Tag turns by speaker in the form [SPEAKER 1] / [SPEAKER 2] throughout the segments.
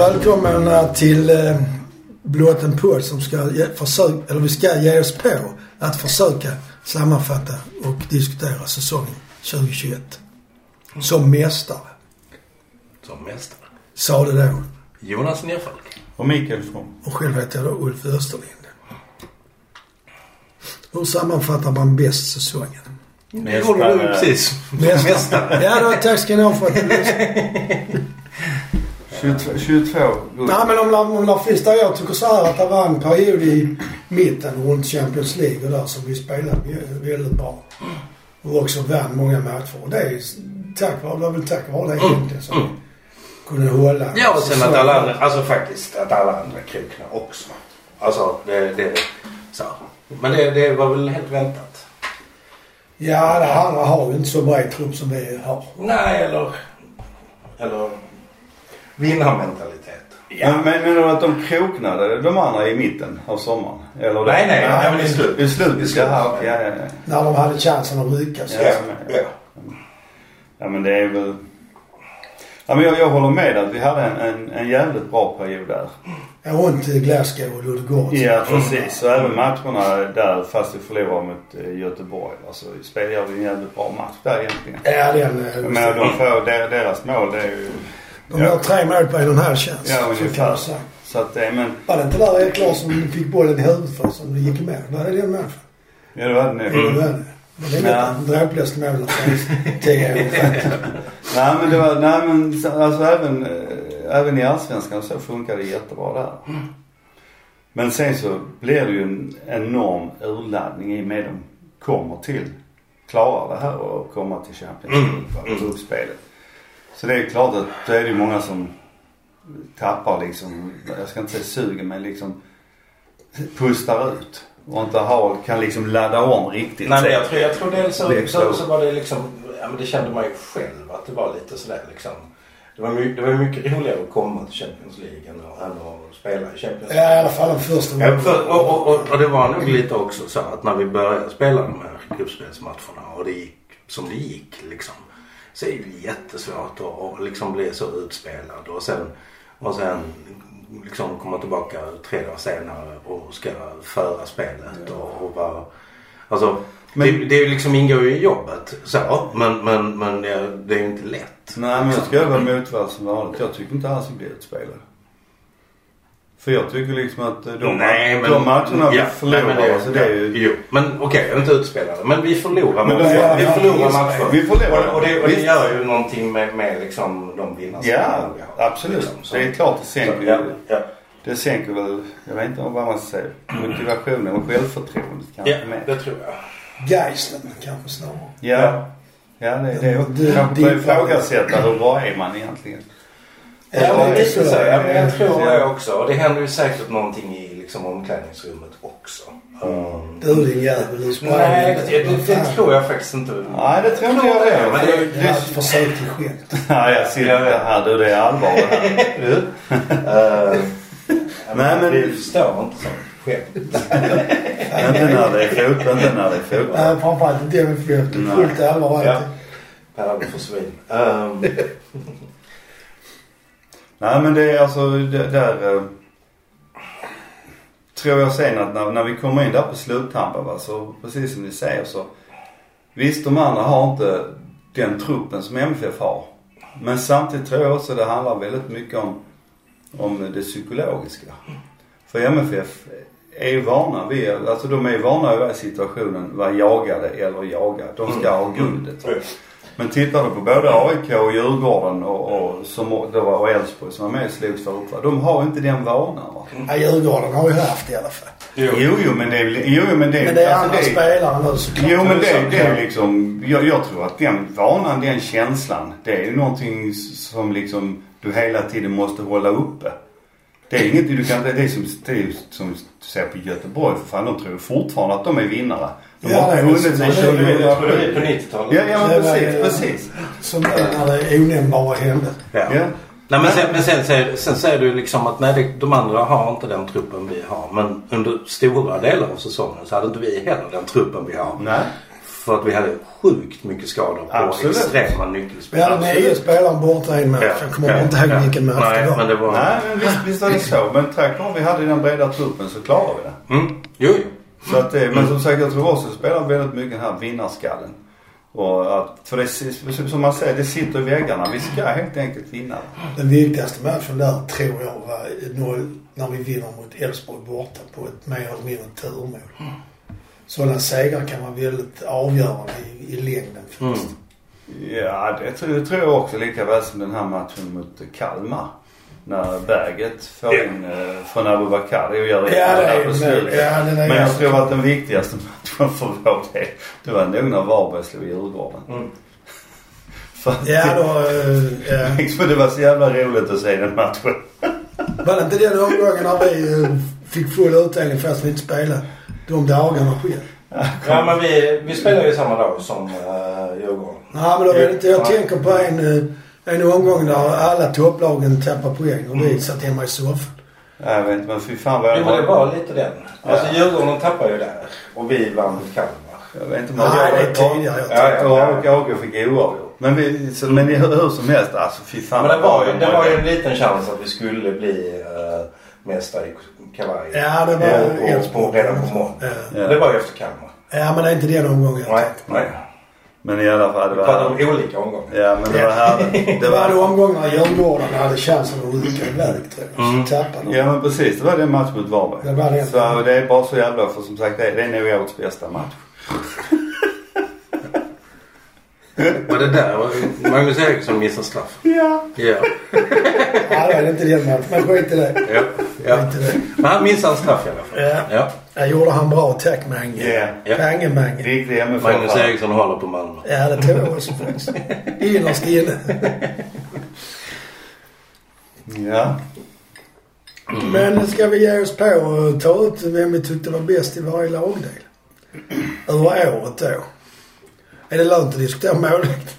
[SPEAKER 1] förmånerna till eh, blott en podd som ska ge, försök, eller vi ska ge oss på att försöka sammanfatta och diskutera säsongen 2021. Som mästare.
[SPEAKER 2] Som mästare.
[SPEAKER 1] Sa det då.
[SPEAKER 2] Jonas Nerfalk.
[SPEAKER 3] Och Mikael från.
[SPEAKER 1] Och själv heter jag då Ulf Österlind. Hur sammanfattar man bäst säsongen?
[SPEAKER 2] Det gjorde du
[SPEAKER 3] Mästare.
[SPEAKER 2] precis. Mästare.
[SPEAKER 1] Ja då, tack ska ni ha för att ni lyssnade.
[SPEAKER 3] 22, 22 guld.
[SPEAKER 1] Nej men om, La- om Lafista och jag tycker så här att det var en period i mitten runt Champions League och där som vi spelade vä- väldigt bra. Och också vann många matcher. Och det är ju s- tack vare, det var väl tack vare det egentligen som vi kunde hålla.
[SPEAKER 2] Ja, och sen
[SPEAKER 1] Så-
[SPEAKER 2] att alla andra, alltså faktiskt att alla andra kroknar också. Alltså, det, det så. Men det, det var väl helt väntat.
[SPEAKER 1] Ja, alla andra har ju inte så bred trupp som vi har.
[SPEAKER 2] Nej, eller... Eller vinnarmentalitet.
[SPEAKER 3] Men men menar du att de kroknade, de andra i mitten av sommaren? Eller
[SPEAKER 2] Nej, nej, nej, men i
[SPEAKER 3] I
[SPEAKER 2] slutet.
[SPEAKER 3] slutet? I slutet. Ja, ja, ja.
[SPEAKER 1] När de hade chansen att rycka så.
[SPEAKER 2] Ja,
[SPEAKER 3] ja.
[SPEAKER 2] ja.
[SPEAKER 3] ja, men det är väl... Ja, men jag, jag håller med att vi hade en, en, en jävligt bra period där.
[SPEAKER 1] Ja, runt till Glasgow och Ludogorets.
[SPEAKER 3] Ja, precis. Och även matcherna där, fast vi förlorade mot eh, Göteborg. Alltså, spelade vi en jävligt bra match där egentligen.
[SPEAKER 1] Ja, den... eh,
[SPEAKER 3] Jag menar, de får, de- deras mål det är ju...
[SPEAKER 1] De gör tre mål på en och en halv chans.
[SPEAKER 3] Ja,
[SPEAKER 1] så kan
[SPEAKER 3] ungefär.
[SPEAKER 1] man säga.
[SPEAKER 3] Så att det, men...
[SPEAKER 1] Var det inte där Erik Larsson fick bollen i huvudet för som det gick med? Var det den matchen?
[SPEAKER 3] Ja, det var det nu.
[SPEAKER 1] Mm. Men det är nästan dråpligaste målet jag
[SPEAKER 3] Nej men det var, nej men alltså även, eh, även i Allsvenskan så funkar det jättebra där.
[SPEAKER 2] Mm.
[SPEAKER 3] Men sen så blir det ju en enorm urladdning i och med de kommer till, klarar det här och kommer till Champions
[SPEAKER 2] Mm.
[SPEAKER 3] League och gruppspelet. Så det är klart att då är det ju många som tappar liksom, jag ska inte säga sugen men liksom pustar ut och inte har, kan liksom ladda om riktigt.
[SPEAKER 2] Nej, men jag tror, jag tror dels
[SPEAKER 3] Det är
[SPEAKER 2] så, så,
[SPEAKER 3] så.
[SPEAKER 2] så var det liksom, ja men det kände man ju själv att det var lite sådär liksom. Det var, my, det var mycket roligare att komma till Champions League än att, än att spela i Champions
[SPEAKER 1] Ja,
[SPEAKER 2] League.
[SPEAKER 1] i alla fall den första
[SPEAKER 2] Ja,
[SPEAKER 1] matchen.
[SPEAKER 3] Alltså,
[SPEAKER 2] för, och, och, och, och det var nog lite också så att när vi började spela de här gruppspelsmatcherna och det gick som det gick liksom. Så är det jättesvårt att att liksom bli så utspelad och sen, och sen liksom komma tillbaka tre dagar senare och ska föra spelet och, och vara... Alltså, det, det är ju liksom ingår ju i jobbet så, men, men, men det, det är ju inte lätt.
[SPEAKER 3] Nej men jag ska vara motvärd som vanligt. Jag tycker inte alls vi blir utspelade. För jag tycker liksom att de, de matcherna vi förlorar,
[SPEAKER 2] nej, men
[SPEAKER 3] alltså det är ju...
[SPEAKER 2] Jo, men okej, inte utspelade. Men vi förlorar
[SPEAKER 3] Men
[SPEAKER 2] matcher. vi
[SPEAKER 3] vi- ja,
[SPEAKER 2] förlorar
[SPEAKER 3] visst,
[SPEAKER 2] matcher.
[SPEAKER 3] vi förlorar.
[SPEAKER 2] Och, och, det, och det
[SPEAKER 3] Visst.
[SPEAKER 2] gör ju någonting med, med liksom de
[SPEAKER 3] Ja,
[SPEAKER 2] vinnarspelarna vi har.
[SPEAKER 3] absolut.
[SPEAKER 2] Liksom, så-
[SPEAKER 3] det är klart det
[SPEAKER 2] så,
[SPEAKER 3] sänker
[SPEAKER 2] ja,
[SPEAKER 3] ju...
[SPEAKER 2] ja.
[SPEAKER 3] Det sänker väl, jag vet inte vad man ska säga, motivationen och självförtroendet kanske
[SPEAKER 2] ja,
[SPEAKER 3] med.
[SPEAKER 2] det tror jag.
[SPEAKER 1] Geisten kanske snarare.
[SPEAKER 3] Ja. Ja, det, det är
[SPEAKER 1] Det-
[SPEAKER 3] ju... Kanske
[SPEAKER 1] det-
[SPEAKER 3] börja ifrågasätta hur bra är man egentligen?
[SPEAKER 2] Ja, men det
[SPEAKER 1] det tror
[SPEAKER 2] är så.
[SPEAKER 1] jag.
[SPEAKER 2] Ja, men jag tror det
[SPEAKER 3] Ja.
[SPEAKER 2] också. Och det händer ju säkert någonting i liksom, omklädningsrummet också.
[SPEAKER 3] Mm.
[SPEAKER 2] Um,
[SPEAKER 1] Du din jävel, du sprang.
[SPEAKER 2] nej, det, det, det tror jag faktiskt inte.
[SPEAKER 3] Nej, det tror inte jag heller.
[SPEAKER 2] Men det,
[SPEAKER 1] Det är ett försök till skämt.
[SPEAKER 3] Nej, jag ser det här du, det är allvar det här.
[SPEAKER 2] Du? Eh,
[SPEAKER 3] Nej, men-
[SPEAKER 2] Vi förstår inte sånt skämt.
[SPEAKER 3] Inte när det är fotboll, inte när det är fotboll.
[SPEAKER 1] Nej, framförallt inte jag vill skämt.
[SPEAKER 3] Nej.
[SPEAKER 1] Fullt allvar
[SPEAKER 2] Ja.
[SPEAKER 1] alltid.
[SPEAKER 2] Per för svin. Ehm,
[SPEAKER 3] Nej men det är alltså det, där eh, tror jag sen att när, när vi kommer in där på sluttampen va, så precis som ni säger så visst de andra har inte den truppen som MFF har. Men samtidigt tror jag också det handlar väldigt mycket om, om det psykologiska. För MFF är ju vana vid, alltså de är ju vana i den här situationen, vara jagade eller jaga. De ska ha guldet. Men tittar du på både AIK och Djurgården och, och, som, det var, och Elfsborg som var med och slogs där uppe. va? De har inte den vanan va?
[SPEAKER 1] Ja, Djurgården har ju haft i alla fall.
[SPEAKER 3] Jo, jo men det är väl- jo, jo, men det är-
[SPEAKER 1] Men det är
[SPEAKER 3] alltså,
[SPEAKER 1] andra
[SPEAKER 3] det är-
[SPEAKER 1] spelare nu såklart.
[SPEAKER 3] Jo men det, det är liksom, jag, jag tror att den vanan, den känslan, det är ju någonting som liksom du hela tiden måste hålla uppe. Det är inget du kan, det är som, det är som du ser på Göteborg för fan, de tror fortfarande att de är vinnare. De
[SPEAKER 1] Ja,
[SPEAKER 3] har
[SPEAKER 1] det
[SPEAKER 3] inte
[SPEAKER 1] är
[SPEAKER 3] vunnit
[SPEAKER 1] så.
[SPEAKER 3] sedan
[SPEAKER 1] Det är väl-
[SPEAKER 2] det tror jag
[SPEAKER 3] 2007.
[SPEAKER 2] är på
[SPEAKER 3] Ja,
[SPEAKER 2] 90-talet.
[SPEAKER 3] ja
[SPEAKER 1] Det
[SPEAKER 3] men
[SPEAKER 1] är väl-
[SPEAKER 3] precis, precis.
[SPEAKER 1] Som är när det är onämnbara händer.
[SPEAKER 3] Ja.
[SPEAKER 2] Nej, men sen, men sen, säger- sen säger du liksom att nej, det- de andra har inte den truppen vi har. Men under stora delar av säsongen så hade inte vi heller den truppen vi har.
[SPEAKER 3] Nej.
[SPEAKER 2] För att vi hade sjukt mycket skador på
[SPEAKER 3] Absolut.
[SPEAKER 2] extrema
[SPEAKER 1] Vi
[SPEAKER 2] nyckelspelare.
[SPEAKER 1] hade nio spelare borta i en match. Jag kommer
[SPEAKER 2] Ja,
[SPEAKER 1] inte ihåg
[SPEAKER 2] ja.
[SPEAKER 1] vilken match
[SPEAKER 2] Nej,
[SPEAKER 1] det var.
[SPEAKER 2] men det var...
[SPEAKER 3] Nej, men visst, visst är det så. Men tack vare vi hade den breda truppen så klarar vi det.
[SPEAKER 2] Mm. Jo, jo.
[SPEAKER 3] Så att det, men som sagt, jag tror också det spelar väldigt mycket den här vinnarskallen. Och att, för det, si- som man säger, det sitter i väggarna. Vi ska helt enkelt vinna.
[SPEAKER 1] Den viktigaste matchen där tror jag var noll, när vi vinner mot Elfsborg borta på ett mer eller mindre turmål.
[SPEAKER 2] Mm.
[SPEAKER 1] Sådana segrar kan vara väldigt avgörande i, i längden faktiskt.
[SPEAKER 2] Mm.
[SPEAKER 3] Ja, det tror, det tror jag också. Lika väl som den här matchen mot Kalmar. När Berget får
[SPEAKER 2] Ja.
[SPEAKER 3] in eh, från Abubakar och gör
[SPEAKER 1] Ja, det är
[SPEAKER 3] där på slutet.
[SPEAKER 1] ja, den är
[SPEAKER 3] Men jag tror att den viktigaste matchen för vår del, det var nog när Varberg slog Djurgården.
[SPEAKER 2] Mm.
[SPEAKER 3] För att
[SPEAKER 1] Ja, då... eh, ja.
[SPEAKER 3] liksom, det var så jävla roligt att se den matchen.
[SPEAKER 1] Var det inte den omgången när vi eh, fick full utdelning fast vi inte spelade? De dagarna själv.
[SPEAKER 2] Ja, men vi, vi spelade ju samma dag som uh, Djurgården.
[SPEAKER 1] Nej, men då vet inte. Jag tänker på en, eh, en omgång där alla topplagen tappar poäng och
[SPEAKER 2] Mm.
[SPEAKER 1] vi satt hemma i soffan.
[SPEAKER 3] Nej, Jag vet inte, men fy fan vad jag
[SPEAKER 2] Jo, men det var lite den. Alltså Djurgården tappade ju där och vi vann mot Kalmar.
[SPEAKER 3] Jag vet inte om
[SPEAKER 1] Nej, det är
[SPEAKER 3] jag
[SPEAKER 1] tidigare. Jag
[SPEAKER 2] Ja, ja, ja.
[SPEAKER 3] och AG fick oavgjort. Men, vi, så, men hur, hur som helst, alltså fy fan.
[SPEAKER 2] Men det var, ju,
[SPEAKER 3] vad
[SPEAKER 2] det
[SPEAKER 3] de
[SPEAKER 2] var ju en liten chans att vi skulle bli uh, mästare i kavaj.
[SPEAKER 1] Ja, det var
[SPEAKER 2] Ja, och-
[SPEAKER 1] Elfsborg.
[SPEAKER 2] och redan på måndag.
[SPEAKER 1] Ja.
[SPEAKER 3] Ja.
[SPEAKER 2] Det var ju efter Kalmar.
[SPEAKER 1] Ja, men det är inte den omgången jag
[SPEAKER 2] Nej,
[SPEAKER 1] tänker.
[SPEAKER 2] nej.
[SPEAKER 3] Men i alla fall, det
[SPEAKER 2] Vi
[SPEAKER 3] var
[SPEAKER 2] pratade om olika omgångar.
[SPEAKER 3] Ja, men det var härligt.
[SPEAKER 1] Det var då omgången när Djurgården hade chansen att rycka iväg tror jag.
[SPEAKER 2] Mm.
[SPEAKER 1] Så tappade de.
[SPEAKER 3] Ja men precis, det var den matchen mot Varberg.
[SPEAKER 1] Det var det.
[SPEAKER 3] Så det är bara så jävla, för som sagt det, det är nog årets bästa match.
[SPEAKER 2] Var det där var Magnus Eriksson missade straff?
[SPEAKER 3] Ja.
[SPEAKER 2] Ja.
[SPEAKER 1] Ja, det var inte den matchen. Men skit i det.
[SPEAKER 2] ja, ja.
[SPEAKER 1] Skit i det.
[SPEAKER 2] Men han missade en straff i alla fall.
[SPEAKER 1] Ja.
[SPEAKER 2] Ja.
[SPEAKER 1] Jag gjorde han bra tack Mange.
[SPEAKER 3] Ja.
[SPEAKER 2] Ja.
[SPEAKER 1] Mange Mange.
[SPEAKER 3] Riktig MFF.
[SPEAKER 2] Magnus Eriksson håller på Malmö.
[SPEAKER 1] Ja, det tror jag också faktiskt. Innerst inne.
[SPEAKER 3] Ja.
[SPEAKER 1] Men ska vi ge oss på och ta ut vem vi tyckte var bäst i varje lagdel? Över året då. Är det lönt att diskutera målvakt?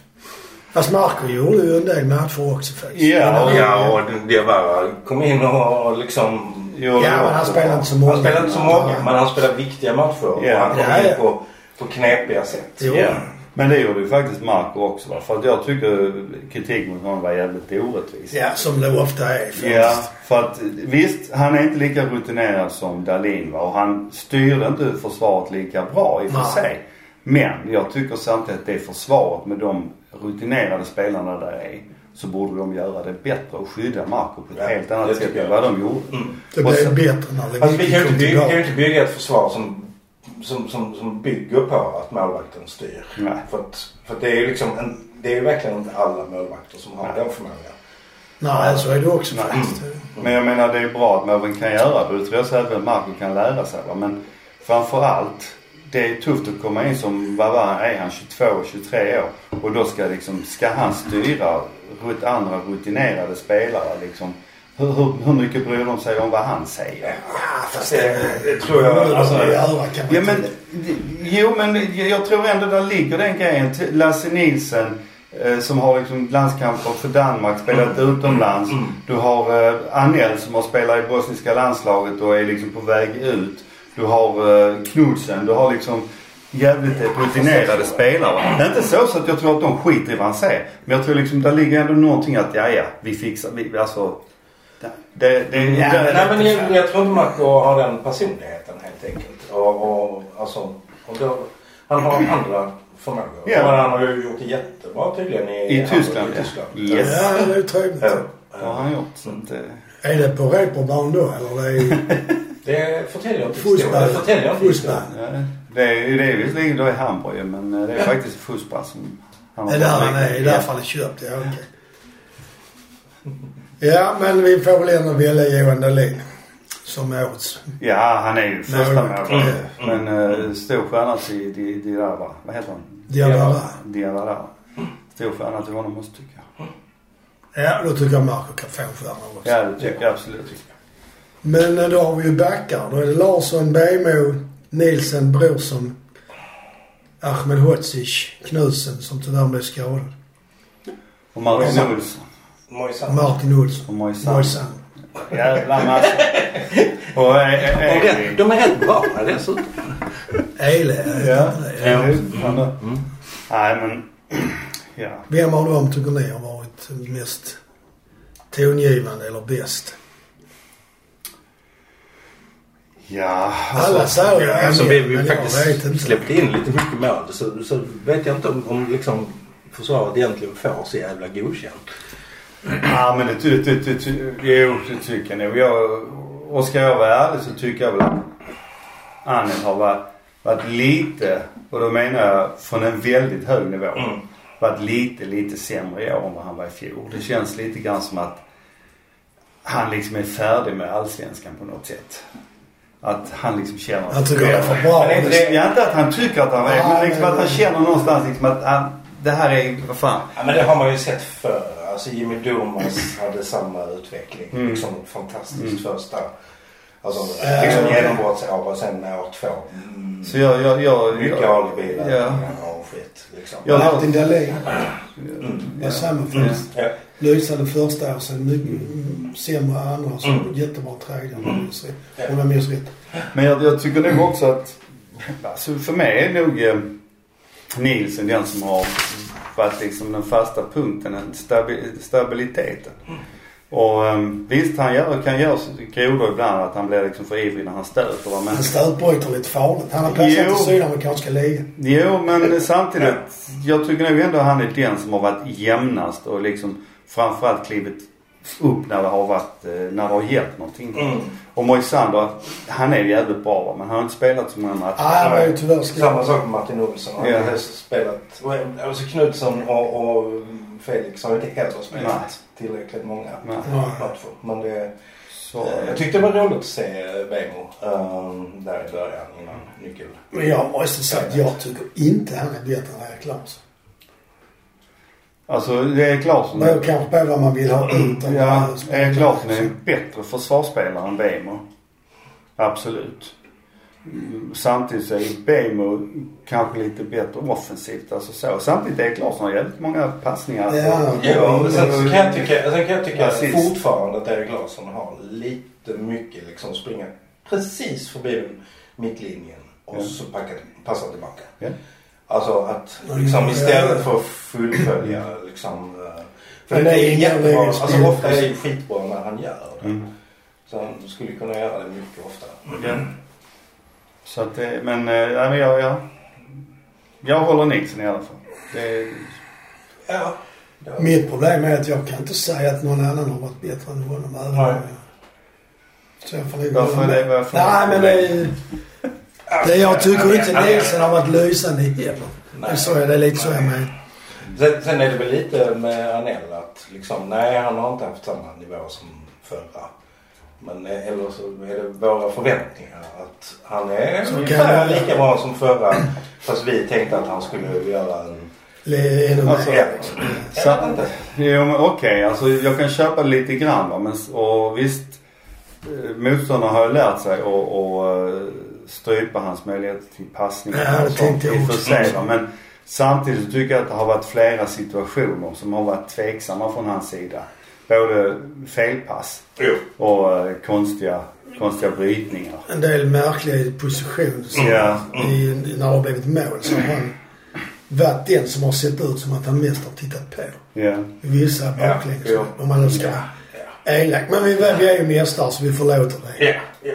[SPEAKER 1] Fast Marco gjorde ju en del matcher också faktiskt.
[SPEAKER 3] Ja,
[SPEAKER 2] Ja, och det var... Kom in och liksom...
[SPEAKER 3] Jo,
[SPEAKER 1] Ja, men han spelar inte så många.
[SPEAKER 2] Han spelar inte så många, men han spelar viktiga matcher.
[SPEAKER 3] Ja.
[SPEAKER 2] Och han
[SPEAKER 1] Ja,
[SPEAKER 2] kom
[SPEAKER 1] ja.
[SPEAKER 2] in på, på knepiga sätt.
[SPEAKER 1] Jo.
[SPEAKER 3] Ja. Men det gjorde ju faktiskt Marco också va? För att jag tycker kritik mot honom var jävligt orättvis.
[SPEAKER 1] Ja, som det ofta är faktiskt.
[SPEAKER 3] Ja, för att visst, han är inte lika rutinerad som Dahlin va? och han styrde inte försvaret lika bra i och för
[SPEAKER 1] Nej.
[SPEAKER 3] sig. Men jag tycker samtidigt att det försvaret med de rutinerade spelarna där är så borde de göra det bättre och skydda Marco på ett
[SPEAKER 2] Ja,
[SPEAKER 3] helt
[SPEAKER 2] det
[SPEAKER 3] annat sätt
[SPEAKER 2] tycker
[SPEAKER 3] än
[SPEAKER 2] jag. Mm.
[SPEAKER 3] vad de gjorde.
[SPEAKER 1] Det
[SPEAKER 3] Och
[SPEAKER 1] blev
[SPEAKER 3] sen-
[SPEAKER 1] bättre när det
[SPEAKER 2] Alltså, vi kan ju
[SPEAKER 1] kom
[SPEAKER 2] inte bygga, vi kan ju
[SPEAKER 1] tillbaka.
[SPEAKER 2] inte bygga ett försvar som, som, som, som bygger på att målvakten styr.
[SPEAKER 3] Nej.
[SPEAKER 2] För, att, för att det är ju liksom en, det är ju verkligen inte alla målvakter som har
[SPEAKER 3] Nej.
[SPEAKER 2] den förmågan.
[SPEAKER 1] Nej, så är det också
[SPEAKER 3] Nej.
[SPEAKER 1] faktiskt.
[SPEAKER 3] Mm. Men jag menar det är bra att någon kan göra det. Det tror jag så även Marco kan lära sig. Va? Men framförallt, det är tufft att komma in som, vad var han, är han 22, 23 år? Och då ska liksom, ska han styra rut- andra rutinerade spelare liksom? Hur, hur, hur mycket bryr de sig om vad han säger?
[SPEAKER 1] Ja, fast
[SPEAKER 2] Det,
[SPEAKER 1] det...
[SPEAKER 2] det tror
[SPEAKER 1] Det
[SPEAKER 2] jag...
[SPEAKER 1] borde
[SPEAKER 2] Alltså,
[SPEAKER 1] man göra kan man
[SPEAKER 3] Ja
[SPEAKER 1] inte-
[SPEAKER 3] men, jo men jag tror ändå där ligger den grejen. Till Lasse Nielsen eh, som har liksom landskamper för Danmark, spelat utomlands. Du har eh, Anell som har spelat i bosniska landslaget och är liksom på väg ut. Du har eh, Knudsen, du har liksom jävligt eh, rutinerade spelare. Det är inte så, så att jag tror att de skiter i vad han säger. Men jag tror liksom där ligger ändå någonting att ja ja, vi fixar, vi, alltså. Det, det, det,
[SPEAKER 1] Ja,
[SPEAKER 3] det,
[SPEAKER 2] Nej, men jag, jag tror inte Marco har den personligheten helt enkelt. Och, och, alltså, och då, han har andra förmågor.
[SPEAKER 3] Ja.
[SPEAKER 2] Men han har ju gjort det jättebra tydligen i,
[SPEAKER 3] I Tyskland,
[SPEAKER 2] i
[SPEAKER 3] ja.
[SPEAKER 2] Tyskland.
[SPEAKER 3] Yes.
[SPEAKER 1] Ja, det är ju trevligt.
[SPEAKER 2] Ja.
[SPEAKER 3] det har han gjort. Så att, eh.
[SPEAKER 1] Är det på reproband då eller? Det är
[SPEAKER 2] Det förtäljer jag inte historien.
[SPEAKER 1] fotboll.
[SPEAKER 2] Det förtäljer jag
[SPEAKER 1] Fotboll.
[SPEAKER 2] inte historien.
[SPEAKER 3] Ja, Det är, det är visserligen då i Hamburg men eh, det är faktiskt Fuspa som han
[SPEAKER 1] Det är där han är. I det här fallet köpt. Ja, okej. Ja, men vi får väl ändå välja Johan Dahlin. Som årets.
[SPEAKER 3] Ja, han är ju första
[SPEAKER 1] Nej,
[SPEAKER 3] målvakt.
[SPEAKER 2] mm,
[SPEAKER 3] Men eh, stor stjärna till Di- Diarra. Vad heter han?
[SPEAKER 1] Diawara.
[SPEAKER 3] Diarra. Stor stjärna till honom måste tycka.
[SPEAKER 1] Ja, då tycker jag Marco kan få en stjärna också.
[SPEAKER 3] Ja, det tycker jag absolut.
[SPEAKER 1] Men eh, då har vi ju backar. Då är det Larsson, Bejmo, Nielsen, Brorsson, Ahmed Hodzic, Knudsen som tyvärr blev skadad.
[SPEAKER 3] Och Martin Olsson.
[SPEAKER 1] Och
[SPEAKER 2] Mojsan.
[SPEAKER 1] Martin
[SPEAKER 3] Och
[SPEAKER 1] Olsson.
[SPEAKER 3] Moisan.
[SPEAKER 1] Mojsan.
[SPEAKER 3] Jävla massa. Och eh, eh,
[SPEAKER 2] Och det-
[SPEAKER 3] Edvin.
[SPEAKER 2] De är helt bra dessutom.
[SPEAKER 1] Ele, heter
[SPEAKER 3] Ja.
[SPEAKER 1] inte det?
[SPEAKER 2] Ja.
[SPEAKER 3] fan, det-
[SPEAKER 2] Mm.
[SPEAKER 3] Nej men, ja.
[SPEAKER 1] Vem av dem tycker ni har varit mest tongivande eller bäst?
[SPEAKER 3] Ja,
[SPEAKER 1] Alla säger det.
[SPEAKER 2] Alltså, vi vi
[SPEAKER 1] men jag vet inte.
[SPEAKER 2] faktiskt släppte in lite mycket mål så, så vet jag inte om, om liksom försvaret egentligen får så jävla godkänt.
[SPEAKER 3] Ja men det, ty, ty, ty, ty, jo, det tycker jag nog. Jag, och ska jag vara ärlig så tycker jag väl att Annie har varit, varit lite, och då menar jag från en väldigt hög nivå,
[SPEAKER 2] Mm.
[SPEAKER 3] varit lite, lite sämre i år än vad han var i fjol. Det känns lite grann som att han liksom är färdig med allsvenskan på något sätt. Att han liksom känner...
[SPEAKER 1] Han tycker det är för bra.
[SPEAKER 3] Men inte det- ja, inte att han tycker att han var
[SPEAKER 1] Ja,
[SPEAKER 3] men liksom
[SPEAKER 1] men-
[SPEAKER 3] att han känner någonstans liksom att ah, det här är, vad fan.
[SPEAKER 2] Ja, men det har man ju sett förr. Alltså Jimmy Durmaz hade samma utveckling.
[SPEAKER 3] Mm.
[SPEAKER 2] Liksom fantastiskt första. Alltså
[SPEAKER 1] Äh.
[SPEAKER 2] liksom genombrottsår och sen år två. Mm.
[SPEAKER 3] Så jag, jag, jag...
[SPEAKER 2] Mycket
[SPEAKER 3] jag,
[SPEAKER 2] alibilar
[SPEAKER 3] Ja.
[SPEAKER 2] och skit liksom.
[SPEAKER 3] Ja.
[SPEAKER 1] Martin Dahlin
[SPEAKER 2] Mm.
[SPEAKER 1] var samma
[SPEAKER 3] Mm.
[SPEAKER 1] fast
[SPEAKER 2] Ja.
[SPEAKER 1] lysande första år, sen mycket mm, sämre andra och sen
[SPEAKER 2] Mm.
[SPEAKER 1] jättebra tredje om jag minns rätt. Om jag minns rätt.
[SPEAKER 3] Men jag, jag tycker nog också att... Alltså för mig är nog eh, Nielsen den som har varit liksom den fasta punkten, den stabi- stabiliteten. Och eh, visst, han gör, kan göra grodor ibland att han blir liksom för ivrig när han stöter. va, Men,
[SPEAKER 1] Han stötbryter lite farligt. Han har placerat
[SPEAKER 3] Jo.
[SPEAKER 1] i sydamerikanska ligan.
[SPEAKER 3] jo, men samtidigt. Jag tycker nog ändå han är den som har varit jämnast och liksom framförallt klivit upp när det har varit, eh, när det har gällt någonting.
[SPEAKER 2] Mm.
[SPEAKER 3] Och Moisander, han är jävligt bra va, men han har inte spelat så många matcher.
[SPEAKER 1] Nej, Ah, han var ju tyvärr
[SPEAKER 2] Samma
[SPEAKER 1] skadad.
[SPEAKER 2] sak med Martin Olsson. Han har
[SPEAKER 3] Ja.
[SPEAKER 2] inte heller spelat. och, Alltså Knutsson och, och Felix har inte heller spelat
[SPEAKER 3] Nej.
[SPEAKER 2] tillräckligt många
[SPEAKER 3] Nej.
[SPEAKER 1] Ja.
[SPEAKER 2] matcher. Men det,
[SPEAKER 3] Så, eh,
[SPEAKER 2] jag tyckte det var roligt att se Bemo ehm, där i början innan nyckel.
[SPEAKER 1] Men jag måste säga att jag tycker inte han är bättre än Erik Larsson.
[SPEAKER 3] Alltså det är Claesson.
[SPEAKER 1] Det beror kanske på vad man vill ha ut av
[SPEAKER 3] Mm. Ja,
[SPEAKER 1] spelaren.
[SPEAKER 3] Erik Larsson är en bättre försvarsspelare än Bejmo. Absolut. Mm, Samtidigt så är Bejmo kanske lite bättre offensivt. Alltså så. Samtidigt Erik Larsson har jävligt många passningar. alltså.
[SPEAKER 1] Ja.
[SPEAKER 2] Ja, men sen så kan jag tycka, sen kan jag tycka
[SPEAKER 3] Assist.
[SPEAKER 2] fortfarande att Erik Larsson har lite mycket liksom springa precis förbi mittlinjen och
[SPEAKER 3] Ja.
[SPEAKER 2] så packa, passa tillbaka.
[SPEAKER 3] Ja.
[SPEAKER 2] Alltså att
[SPEAKER 1] Mm,
[SPEAKER 2] liksom
[SPEAKER 1] ja.
[SPEAKER 2] istället för att fullfölja liksom. eh, För
[SPEAKER 1] Men
[SPEAKER 2] det
[SPEAKER 1] det är
[SPEAKER 2] är
[SPEAKER 1] inga
[SPEAKER 2] jättebra.
[SPEAKER 1] lägenspel.
[SPEAKER 2] Alltså ofta är det ju skitbra när han gör det.
[SPEAKER 3] Mm.
[SPEAKER 2] Så han skulle kunna göra det mycket oftare.
[SPEAKER 3] Så att det, men, eh, ja, men jag, jag, jag håller Nixon i alla fall. Det,
[SPEAKER 2] Ja. Ja.
[SPEAKER 1] Mitt problem är att jag kan inte säga att någon annan har varit bättre än honom. även om
[SPEAKER 2] Nej.
[SPEAKER 1] jag- Så jag får nog
[SPEAKER 3] Varför
[SPEAKER 1] hålla
[SPEAKER 3] det-
[SPEAKER 1] med.
[SPEAKER 3] varför Alltså,
[SPEAKER 1] Nej
[SPEAKER 3] det-
[SPEAKER 1] men det är... Det jag tycker inte Nielsen har varit lysande heller.
[SPEAKER 2] Nej.
[SPEAKER 1] Det är Så är det lite så jag menar.
[SPEAKER 2] Sen, sen är det väl lite med Anell att liksom, nej han har inte haft samma nivå som förra. Men eh, eller så är det våra förväntningar att han är
[SPEAKER 1] Så kan
[SPEAKER 2] ungefär
[SPEAKER 1] det vara.
[SPEAKER 2] lika bra som förra. Fast vi tänkte att han skulle göra en...
[SPEAKER 1] Le- ännu
[SPEAKER 3] Alltså,
[SPEAKER 1] mer.
[SPEAKER 2] Ja.
[SPEAKER 3] Så-
[SPEAKER 2] Jag vet inte.
[SPEAKER 3] Jo men okej, alltså jag kan köpa lite grann va, men, och visst eh, motståndarna har ju lärt sig att och, eh, strypa hans möjligheter till passningar
[SPEAKER 1] Ja, det
[SPEAKER 3] och sånt
[SPEAKER 1] tänkte jag
[SPEAKER 3] i och för
[SPEAKER 1] också.
[SPEAKER 3] sig va, men samtidigt så tycker jag att det har varit flera situationer som har varit tveksamma från hans sida. Både felpass
[SPEAKER 2] Jo.
[SPEAKER 3] och eh, konstiga, konstiga brytningar.
[SPEAKER 1] En del märkliga positioner. som-
[SPEAKER 2] Mm.
[SPEAKER 3] Ja.
[SPEAKER 1] I, i- när det har blivit mål så har han varit den som har sett ut som att han mest har tittat på.
[SPEAKER 3] Ja.
[SPEAKER 1] I vissa
[SPEAKER 2] Ja,
[SPEAKER 1] baklänges.
[SPEAKER 2] ja.
[SPEAKER 1] Om man nu ska
[SPEAKER 2] Ja,
[SPEAKER 1] vara elak. Men vi, vi är ju mästare så vi förlåter det.
[SPEAKER 2] Ja. Ja.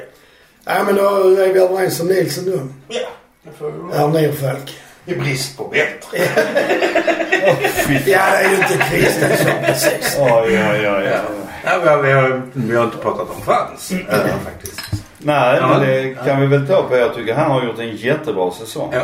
[SPEAKER 1] Ja men då är vi överens om Nilsson då.
[SPEAKER 2] Ja. Det får vi väl-
[SPEAKER 1] Ja, Nerfalk.
[SPEAKER 2] I brist på bättre.
[SPEAKER 1] Ja, det är ju inte Kristensson precis.
[SPEAKER 3] Oj, oj, oj.
[SPEAKER 2] Ja.
[SPEAKER 3] oj.
[SPEAKER 2] Ja, vi, har, vi, har, vi har inte pratat om chans
[SPEAKER 1] Mm.
[SPEAKER 2] eh, faktiskt.
[SPEAKER 3] Nej,
[SPEAKER 2] Ja.
[SPEAKER 3] men det kan vi väl ta på. Jag tycker han har gjort en jättebra säsong.
[SPEAKER 2] Ja.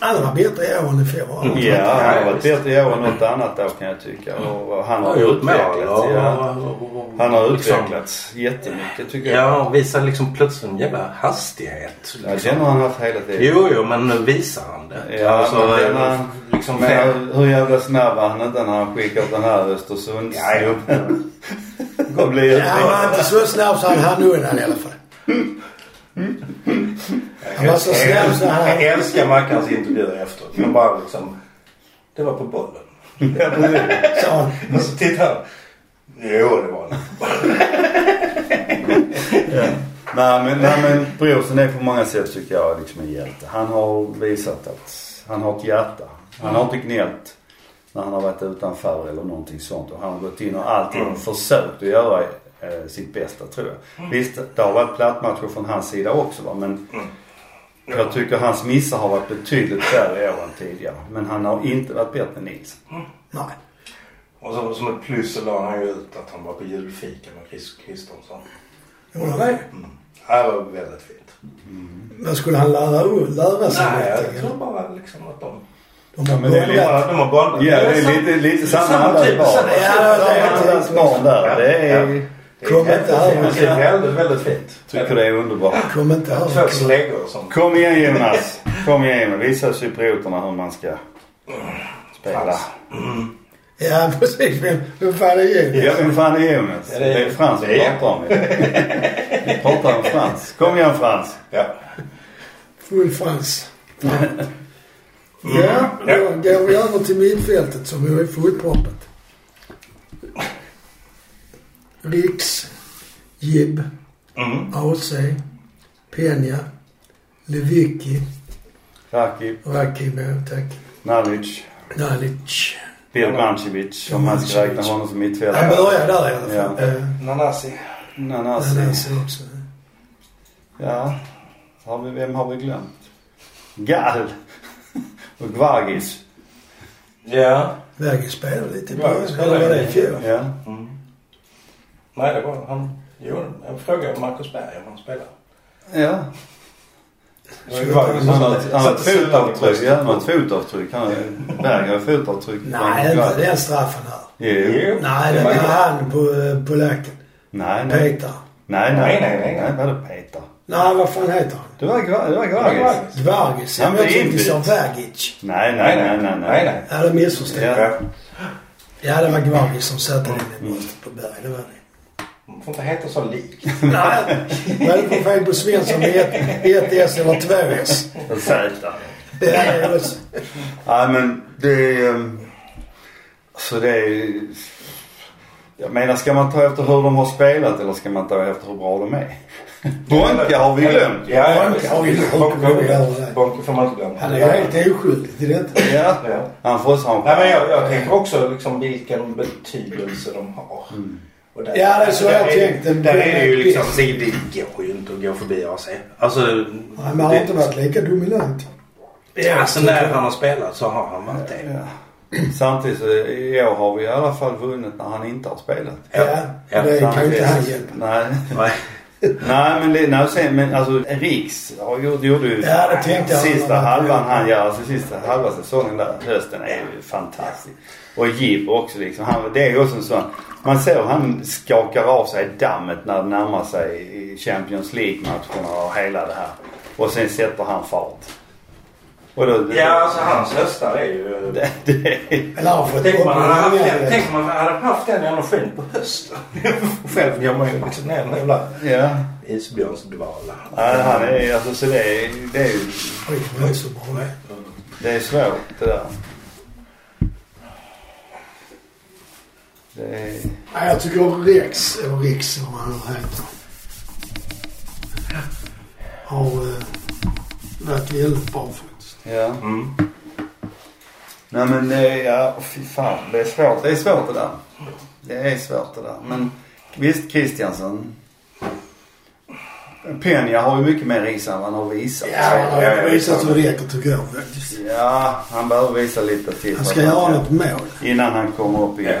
[SPEAKER 1] Alla var bättre i år än i
[SPEAKER 2] Mm.
[SPEAKER 1] fjol.
[SPEAKER 3] Ja, han har
[SPEAKER 2] Ja,
[SPEAKER 3] varit bättre i år än något annat år kan jag tycka. Och han har utvecklats. Ja. Liksom- Han har utvecklats jättemycket tycker jag.
[SPEAKER 2] Liksom- Ja, och visar liksom plötsligt en jävla hastighet.
[SPEAKER 3] Ja,
[SPEAKER 2] liksom.
[SPEAKER 3] den har han haft hela tiden.
[SPEAKER 2] Jo, jo, men nu visar han det.
[SPEAKER 3] Ja, men den har-
[SPEAKER 2] liksom fem...
[SPEAKER 3] Men hur jävla snabb var han inte när han skickade den här
[SPEAKER 2] Ja, ja.
[SPEAKER 3] Östersundsgubben? och blev
[SPEAKER 1] Ja, Han var inte så snabb så han hann undan i alla fall. Han var så snabb så han...
[SPEAKER 2] Jag älskar Mackans intervjuer efteråt. Men bara liksom... Det var på bollen.
[SPEAKER 1] Så han
[SPEAKER 2] Och så tittar han. Jo, det var det.
[SPEAKER 3] Nej men, nej, men Brorsson är på många sätt tycker jag liksom en hjälte. Han har visat att han har ett hjärta. Han har inte gnällt när han har varit utanför eller någonting sånt. Och han har gått in och alltid försökt att göra eh, sitt bästa tror jag. Visst, det har varit plattmatcher från hans sida också va? men jag tycker hans missar har varit betydligt färre i år än tidigare. Men han har inte varit bättre än Nils.
[SPEAKER 1] Nej.
[SPEAKER 2] Och så, som ett plus så la han ju ut att han var på julfika med Chris Kristensson.
[SPEAKER 1] Gjorde han det?
[SPEAKER 2] Mm. Det var väldigt fint.
[SPEAKER 1] Men skulle han lära, lära sig
[SPEAKER 2] Nej, jag
[SPEAKER 1] någonting?
[SPEAKER 2] tror bara liksom att de...
[SPEAKER 1] De har
[SPEAKER 3] men det är
[SPEAKER 2] De har,
[SPEAKER 1] börjat.
[SPEAKER 2] de har bollat.
[SPEAKER 3] Ja, det är lite, lite samma
[SPEAKER 2] Samma
[SPEAKER 3] andas
[SPEAKER 2] typ,
[SPEAKER 3] barn.
[SPEAKER 2] så det är-
[SPEAKER 1] ja,
[SPEAKER 3] Samma andas barn där. Det
[SPEAKER 2] Ja.
[SPEAKER 3] är...
[SPEAKER 1] Kom inte här
[SPEAKER 2] Det är
[SPEAKER 1] med-
[SPEAKER 2] väldigt, väldigt fint.
[SPEAKER 3] Tycker det är underbart.
[SPEAKER 1] Kom inte här
[SPEAKER 2] Två
[SPEAKER 1] med kniv.
[SPEAKER 2] släggor som...
[SPEAKER 3] Kom igen Jonas. Kom igen. Visa cyprioterna hur man ska spela.
[SPEAKER 1] Ja precis. Vem vem fan är Jonas?
[SPEAKER 3] Ja, vem fan är Jonas?
[SPEAKER 2] Ja,
[SPEAKER 3] Det
[SPEAKER 2] det är-
[SPEAKER 3] är Frans
[SPEAKER 2] det
[SPEAKER 3] vi
[SPEAKER 2] är-
[SPEAKER 3] pratar om. Vi pratar om Frans. Kom igen Frans.
[SPEAKER 2] Ja.
[SPEAKER 1] Full frans. Ja, då går vi över till mittfältet som ju är fullproppat. Riks, Jib,
[SPEAKER 2] Mm.
[SPEAKER 1] AC, Peña, Levicki,
[SPEAKER 3] Rakip,
[SPEAKER 1] Rakimo, tack.
[SPEAKER 3] Nalic,
[SPEAKER 1] Nalic.
[SPEAKER 3] Birmancevic om man ska räkna honom som
[SPEAKER 1] Han
[SPEAKER 3] mittfältare.
[SPEAKER 1] börjar där i alla fall.
[SPEAKER 3] Ja.
[SPEAKER 1] Eh,
[SPEAKER 2] Nanasi.
[SPEAKER 3] Nanasi.
[SPEAKER 1] Nanasi också.
[SPEAKER 3] Ja. Har vi, vem har vi glömt? Gal. Och Gvargis.
[SPEAKER 2] Ja.
[SPEAKER 1] Vägen spelar lite
[SPEAKER 2] Ja,
[SPEAKER 1] bra.
[SPEAKER 2] vi spelar
[SPEAKER 1] Eller var det i
[SPEAKER 2] lite.
[SPEAKER 1] fjol?
[SPEAKER 3] Ja.
[SPEAKER 2] Mm. Nej, det var han. Jo, jag frågade Marcus Berg om han spelade.
[SPEAKER 3] Ja.
[SPEAKER 2] Det var ju Vargas som
[SPEAKER 3] Han har
[SPEAKER 2] satte-
[SPEAKER 3] han har ett
[SPEAKER 2] satte syllan i
[SPEAKER 3] fotavtryck.
[SPEAKER 2] bröstet.
[SPEAKER 3] Ja, han har ett fotavtryck. Han vägrar ett fotavtryck.
[SPEAKER 1] Nej, inte den straffen här.
[SPEAKER 3] Jo.
[SPEAKER 2] Jo.
[SPEAKER 1] Nej, det var han på eh, polacken.
[SPEAKER 3] Nej, nej.
[SPEAKER 1] Peter.
[SPEAKER 3] Nej,
[SPEAKER 2] Nej,
[SPEAKER 3] nej,
[SPEAKER 2] nej, nej.
[SPEAKER 3] nej. Nej, vadå Peter?
[SPEAKER 1] Nej, vad fan heter han?
[SPEAKER 3] Det var Gra- det var Gragas.
[SPEAKER 2] Vargas.
[SPEAKER 1] Vargis.
[SPEAKER 3] Han
[SPEAKER 1] Jag
[SPEAKER 3] blev
[SPEAKER 1] tänkte du sa
[SPEAKER 3] inbytt.
[SPEAKER 1] Vagic.
[SPEAKER 3] Nej, nej, nej, nej.
[SPEAKER 2] Nej, nej.
[SPEAKER 1] Ja, det missförstod jag.
[SPEAKER 3] Ja.
[SPEAKER 1] Ja, det var Gvargis som satte den i bröstet på Berg. Det var det.
[SPEAKER 2] Man får inte heta så lik.
[SPEAKER 1] Nej, vad är det för fel på Svensson med ett, ett S eller två S?
[SPEAKER 3] Zäta.
[SPEAKER 1] Det är det också.
[SPEAKER 3] Nej, men det är... ehm, Alltså det är... Jag menar, ska man ta efter hur de har spelat eller ska man ta efter hur bra de är? Bonka har vi glömt.
[SPEAKER 2] Ja, ja,
[SPEAKER 1] Bonke har vi glömt.
[SPEAKER 2] glömt. Bonke får man inte glömma.
[SPEAKER 1] Han är ju helt oskyldig till detta.
[SPEAKER 3] Ja.
[SPEAKER 2] Ja.
[SPEAKER 3] Han får också ha en
[SPEAKER 2] Nej, men jag, jag tänker också liksom vilken betydelse de har. Och där,
[SPEAKER 1] Ja, det är så
[SPEAKER 2] där
[SPEAKER 1] jag
[SPEAKER 2] är-
[SPEAKER 1] tänkte.
[SPEAKER 2] Där är det ju
[SPEAKER 1] Det-
[SPEAKER 2] liksom, det, det går ju inte att gå förbi AC. Alltså,
[SPEAKER 1] Nej, men han har inte varit lika dominant.
[SPEAKER 2] det, alltså när han har spelat så har han varit det.
[SPEAKER 3] Ja. Samtidigt så i år har vi i alla fall vunnit när han inte har spelat.
[SPEAKER 1] Ja,
[SPEAKER 2] Ja,
[SPEAKER 1] det kan ju
[SPEAKER 3] Samtidigt-
[SPEAKER 1] inte han hjälpa.
[SPEAKER 3] Nej.
[SPEAKER 2] Nej.
[SPEAKER 3] Nej men, det, nej, sen, men alltså Riks har gjort- gjorde ju
[SPEAKER 1] Ja, det tänkte jag.
[SPEAKER 3] sista halvan han gör, alltså sista halva säsongen där, hösten är ju fantastisk. Och Jib också liksom. Han, det är ju också en sån, man ser hur han skakar av sig dammet när det närmar sig i Champions League-matcherna och hela det här. Och sen sätter han fart. Och då,
[SPEAKER 2] Ja, alltså hans höstar är ju...
[SPEAKER 3] det, det,
[SPEAKER 1] Eller har fått
[SPEAKER 2] Tänk om man hade haft
[SPEAKER 1] uppvärmningar.
[SPEAKER 2] den- tänk om man hade haft den energin på hösten. Själv gör man ju liksom ner den jävla
[SPEAKER 3] ja.
[SPEAKER 2] isbjörnsdvala.
[SPEAKER 3] Nej, han är, alltså, så det, är, det, är, ju-
[SPEAKER 1] Oj, det var inte så bra det.
[SPEAKER 3] det är svårt det där. Det är,
[SPEAKER 1] Nej, jag tycker Rex, eller Rex eller vad han nu heter. Har eh, varit väldigt bra faktiskt.
[SPEAKER 3] ja.
[SPEAKER 2] Mm.
[SPEAKER 3] Nej men det är, ja, åh, fy fan. Det är svårt. Det är svårt det där. Det är svårt det där. Men visst Kristiansson. Penja har ju mycket mer i sig än vad han har visat.
[SPEAKER 1] Ja, han
[SPEAKER 2] ja,
[SPEAKER 1] har
[SPEAKER 2] ja,
[SPEAKER 1] visat
[SPEAKER 2] ja.
[SPEAKER 1] hur det räcker tycker jag faktiskt.
[SPEAKER 3] Ja, han behöver visa lite till.
[SPEAKER 1] Han
[SPEAKER 3] vad
[SPEAKER 1] ska göra något mål.
[SPEAKER 3] Innan han kommer upp i
[SPEAKER 2] Ja.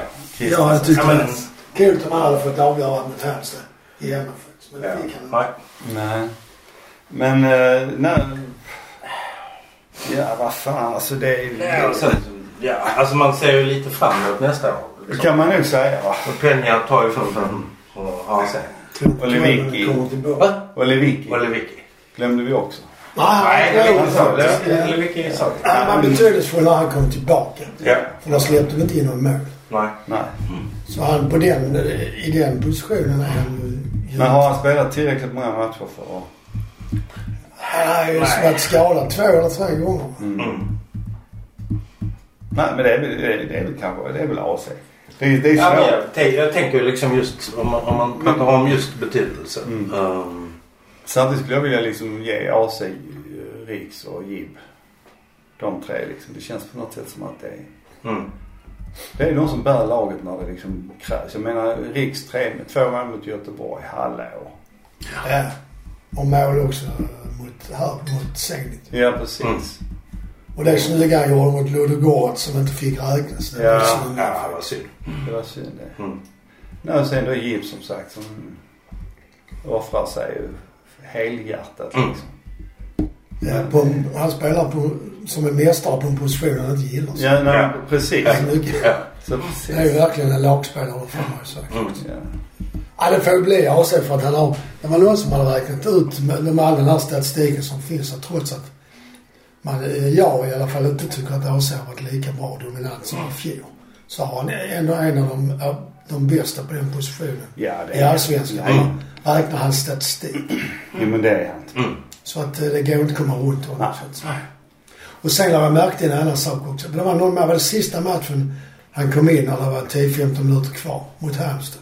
[SPEAKER 1] Ja, jag tycker
[SPEAKER 2] Ja, men-
[SPEAKER 1] det. Kul om han hade fått avgöra mot Halmstad i hemma faktiskt. Men
[SPEAKER 2] Ja.
[SPEAKER 1] det fick han inte.
[SPEAKER 2] Nej.
[SPEAKER 3] Nej. Men, eh, nej. Ja, vad fan. Alltså det är ju...
[SPEAKER 2] Nej, alltså, ja, alltså man ser ju lite framåt nästa år.
[SPEAKER 3] Det
[SPEAKER 2] Liksom.
[SPEAKER 3] kan man nog säga va.
[SPEAKER 2] Och Penja tar ju från fem och AC.
[SPEAKER 1] Tror inte
[SPEAKER 3] Oliver
[SPEAKER 1] klubben
[SPEAKER 3] Vicky.
[SPEAKER 1] kommer tillbaka.
[SPEAKER 2] Va?
[SPEAKER 3] Och Lewicki
[SPEAKER 2] Och Lewicki.
[SPEAKER 3] glömde vi också.
[SPEAKER 1] Nej,
[SPEAKER 2] Nej,
[SPEAKER 1] han
[SPEAKER 2] Lewicki
[SPEAKER 1] var
[SPEAKER 2] sa
[SPEAKER 1] faktiskt.
[SPEAKER 2] det.
[SPEAKER 1] eh,
[SPEAKER 2] Lewicki är sant.
[SPEAKER 1] Han var betydelsefull när han kom tillbaka.
[SPEAKER 2] Ja.
[SPEAKER 1] För då släppte vi inte in någon mål.
[SPEAKER 2] Nej.
[SPEAKER 3] Nej.
[SPEAKER 1] Så han på den, i den positionen är han ju...
[SPEAKER 3] Men har han spelat tillräckligt många matcher för att...
[SPEAKER 1] Han har ju
[SPEAKER 2] Nej.
[SPEAKER 1] varit skadad två eller tre gånger.
[SPEAKER 2] Mm.
[SPEAKER 3] Nej men det är, väl- det är, det är väl kanske, det är väl AC. Det, är- det är
[SPEAKER 2] Ja, men
[SPEAKER 3] svårt.
[SPEAKER 2] jag, tänk, jag tänker ju liksom just om man, om man pratar om just betydelse. Ehm,
[SPEAKER 3] Samtidigt skulle jag vilja liksom ge AC, eh, Riks och Jib. De tre liksom. Det känns på något sätt som att det är,
[SPEAKER 2] Mm.
[SPEAKER 3] det är de som bär laget när det liksom krävs. Jag menar Riks tre med två mål mot Göteborg, hallå.
[SPEAKER 1] Ja. Och mål också mot, här mot Zenit.
[SPEAKER 3] Ja precis.
[SPEAKER 2] Mm.
[SPEAKER 1] Och det är snygga gånger mot Ludogorets som inte fick räknas. Det är liksom-
[SPEAKER 3] Ja.
[SPEAKER 1] så många
[SPEAKER 2] Ja, vad
[SPEAKER 1] faktiskt.
[SPEAKER 2] synd.
[SPEAKER 3] Det var synd det.
[SPEAKER 2] Mm.
[SPEAKER 3] Nej, och sen då Jib som sagt som offrar sig ju helhjärtat
[SPEAKER 2] Mm.
[SPEAKER 3] liksom.
[SPEAKER 1] ja, på, en- han spelar på, som en mästare på en position han inte gillar. Så.
[SPEAKER 3] Ja, nej,
[SPEAKER 2] Ja.
[SPEAKER 3] precis.
[SPEAKER 1] Det är mycket.
[SPEAKER 2] Ja.
[SPEAKER 3] Så
[SPEAKER 1] Det är ju
[SPEAKER 3] precis.
[SPEAKER 1] verkligen en lagspelare får man ju säga.
[SPEAKER 2] Mm.
[SPEAKER 3] Ja.
[SPEAKER 1] Ja, det får ju bli AC för att han har... Det var någon som hade räknat ut med, med all den här statistiken som finns att trots att man, eh, jag i alla fall inte tycker att AC har varit lika bra dominant som i fjol. Så har han ändå en av de, eh, de bästa på den positionen
[SPEAKER 3] Ja, det
[SPEAKER 1] i
[SPEAKER 3] är
[SPEAKER 1] allsvenskan.
[SPEAKER 3] Nej.
[SPEAKER 1] Mm. Räknar hans statistik.
[SPEAKER 3] Jo, men det är han.
[SPEAKER 1] Så att eh, det går inte att komma runt honom.
[SPEAKER 3] Nej.
[SPEAKER 1] så att säga. Och sen har jag märkt en annan sak också. Det var någon, det var den sista matchen han kom in när det var 10-15 minuter kvar mot Halmstad.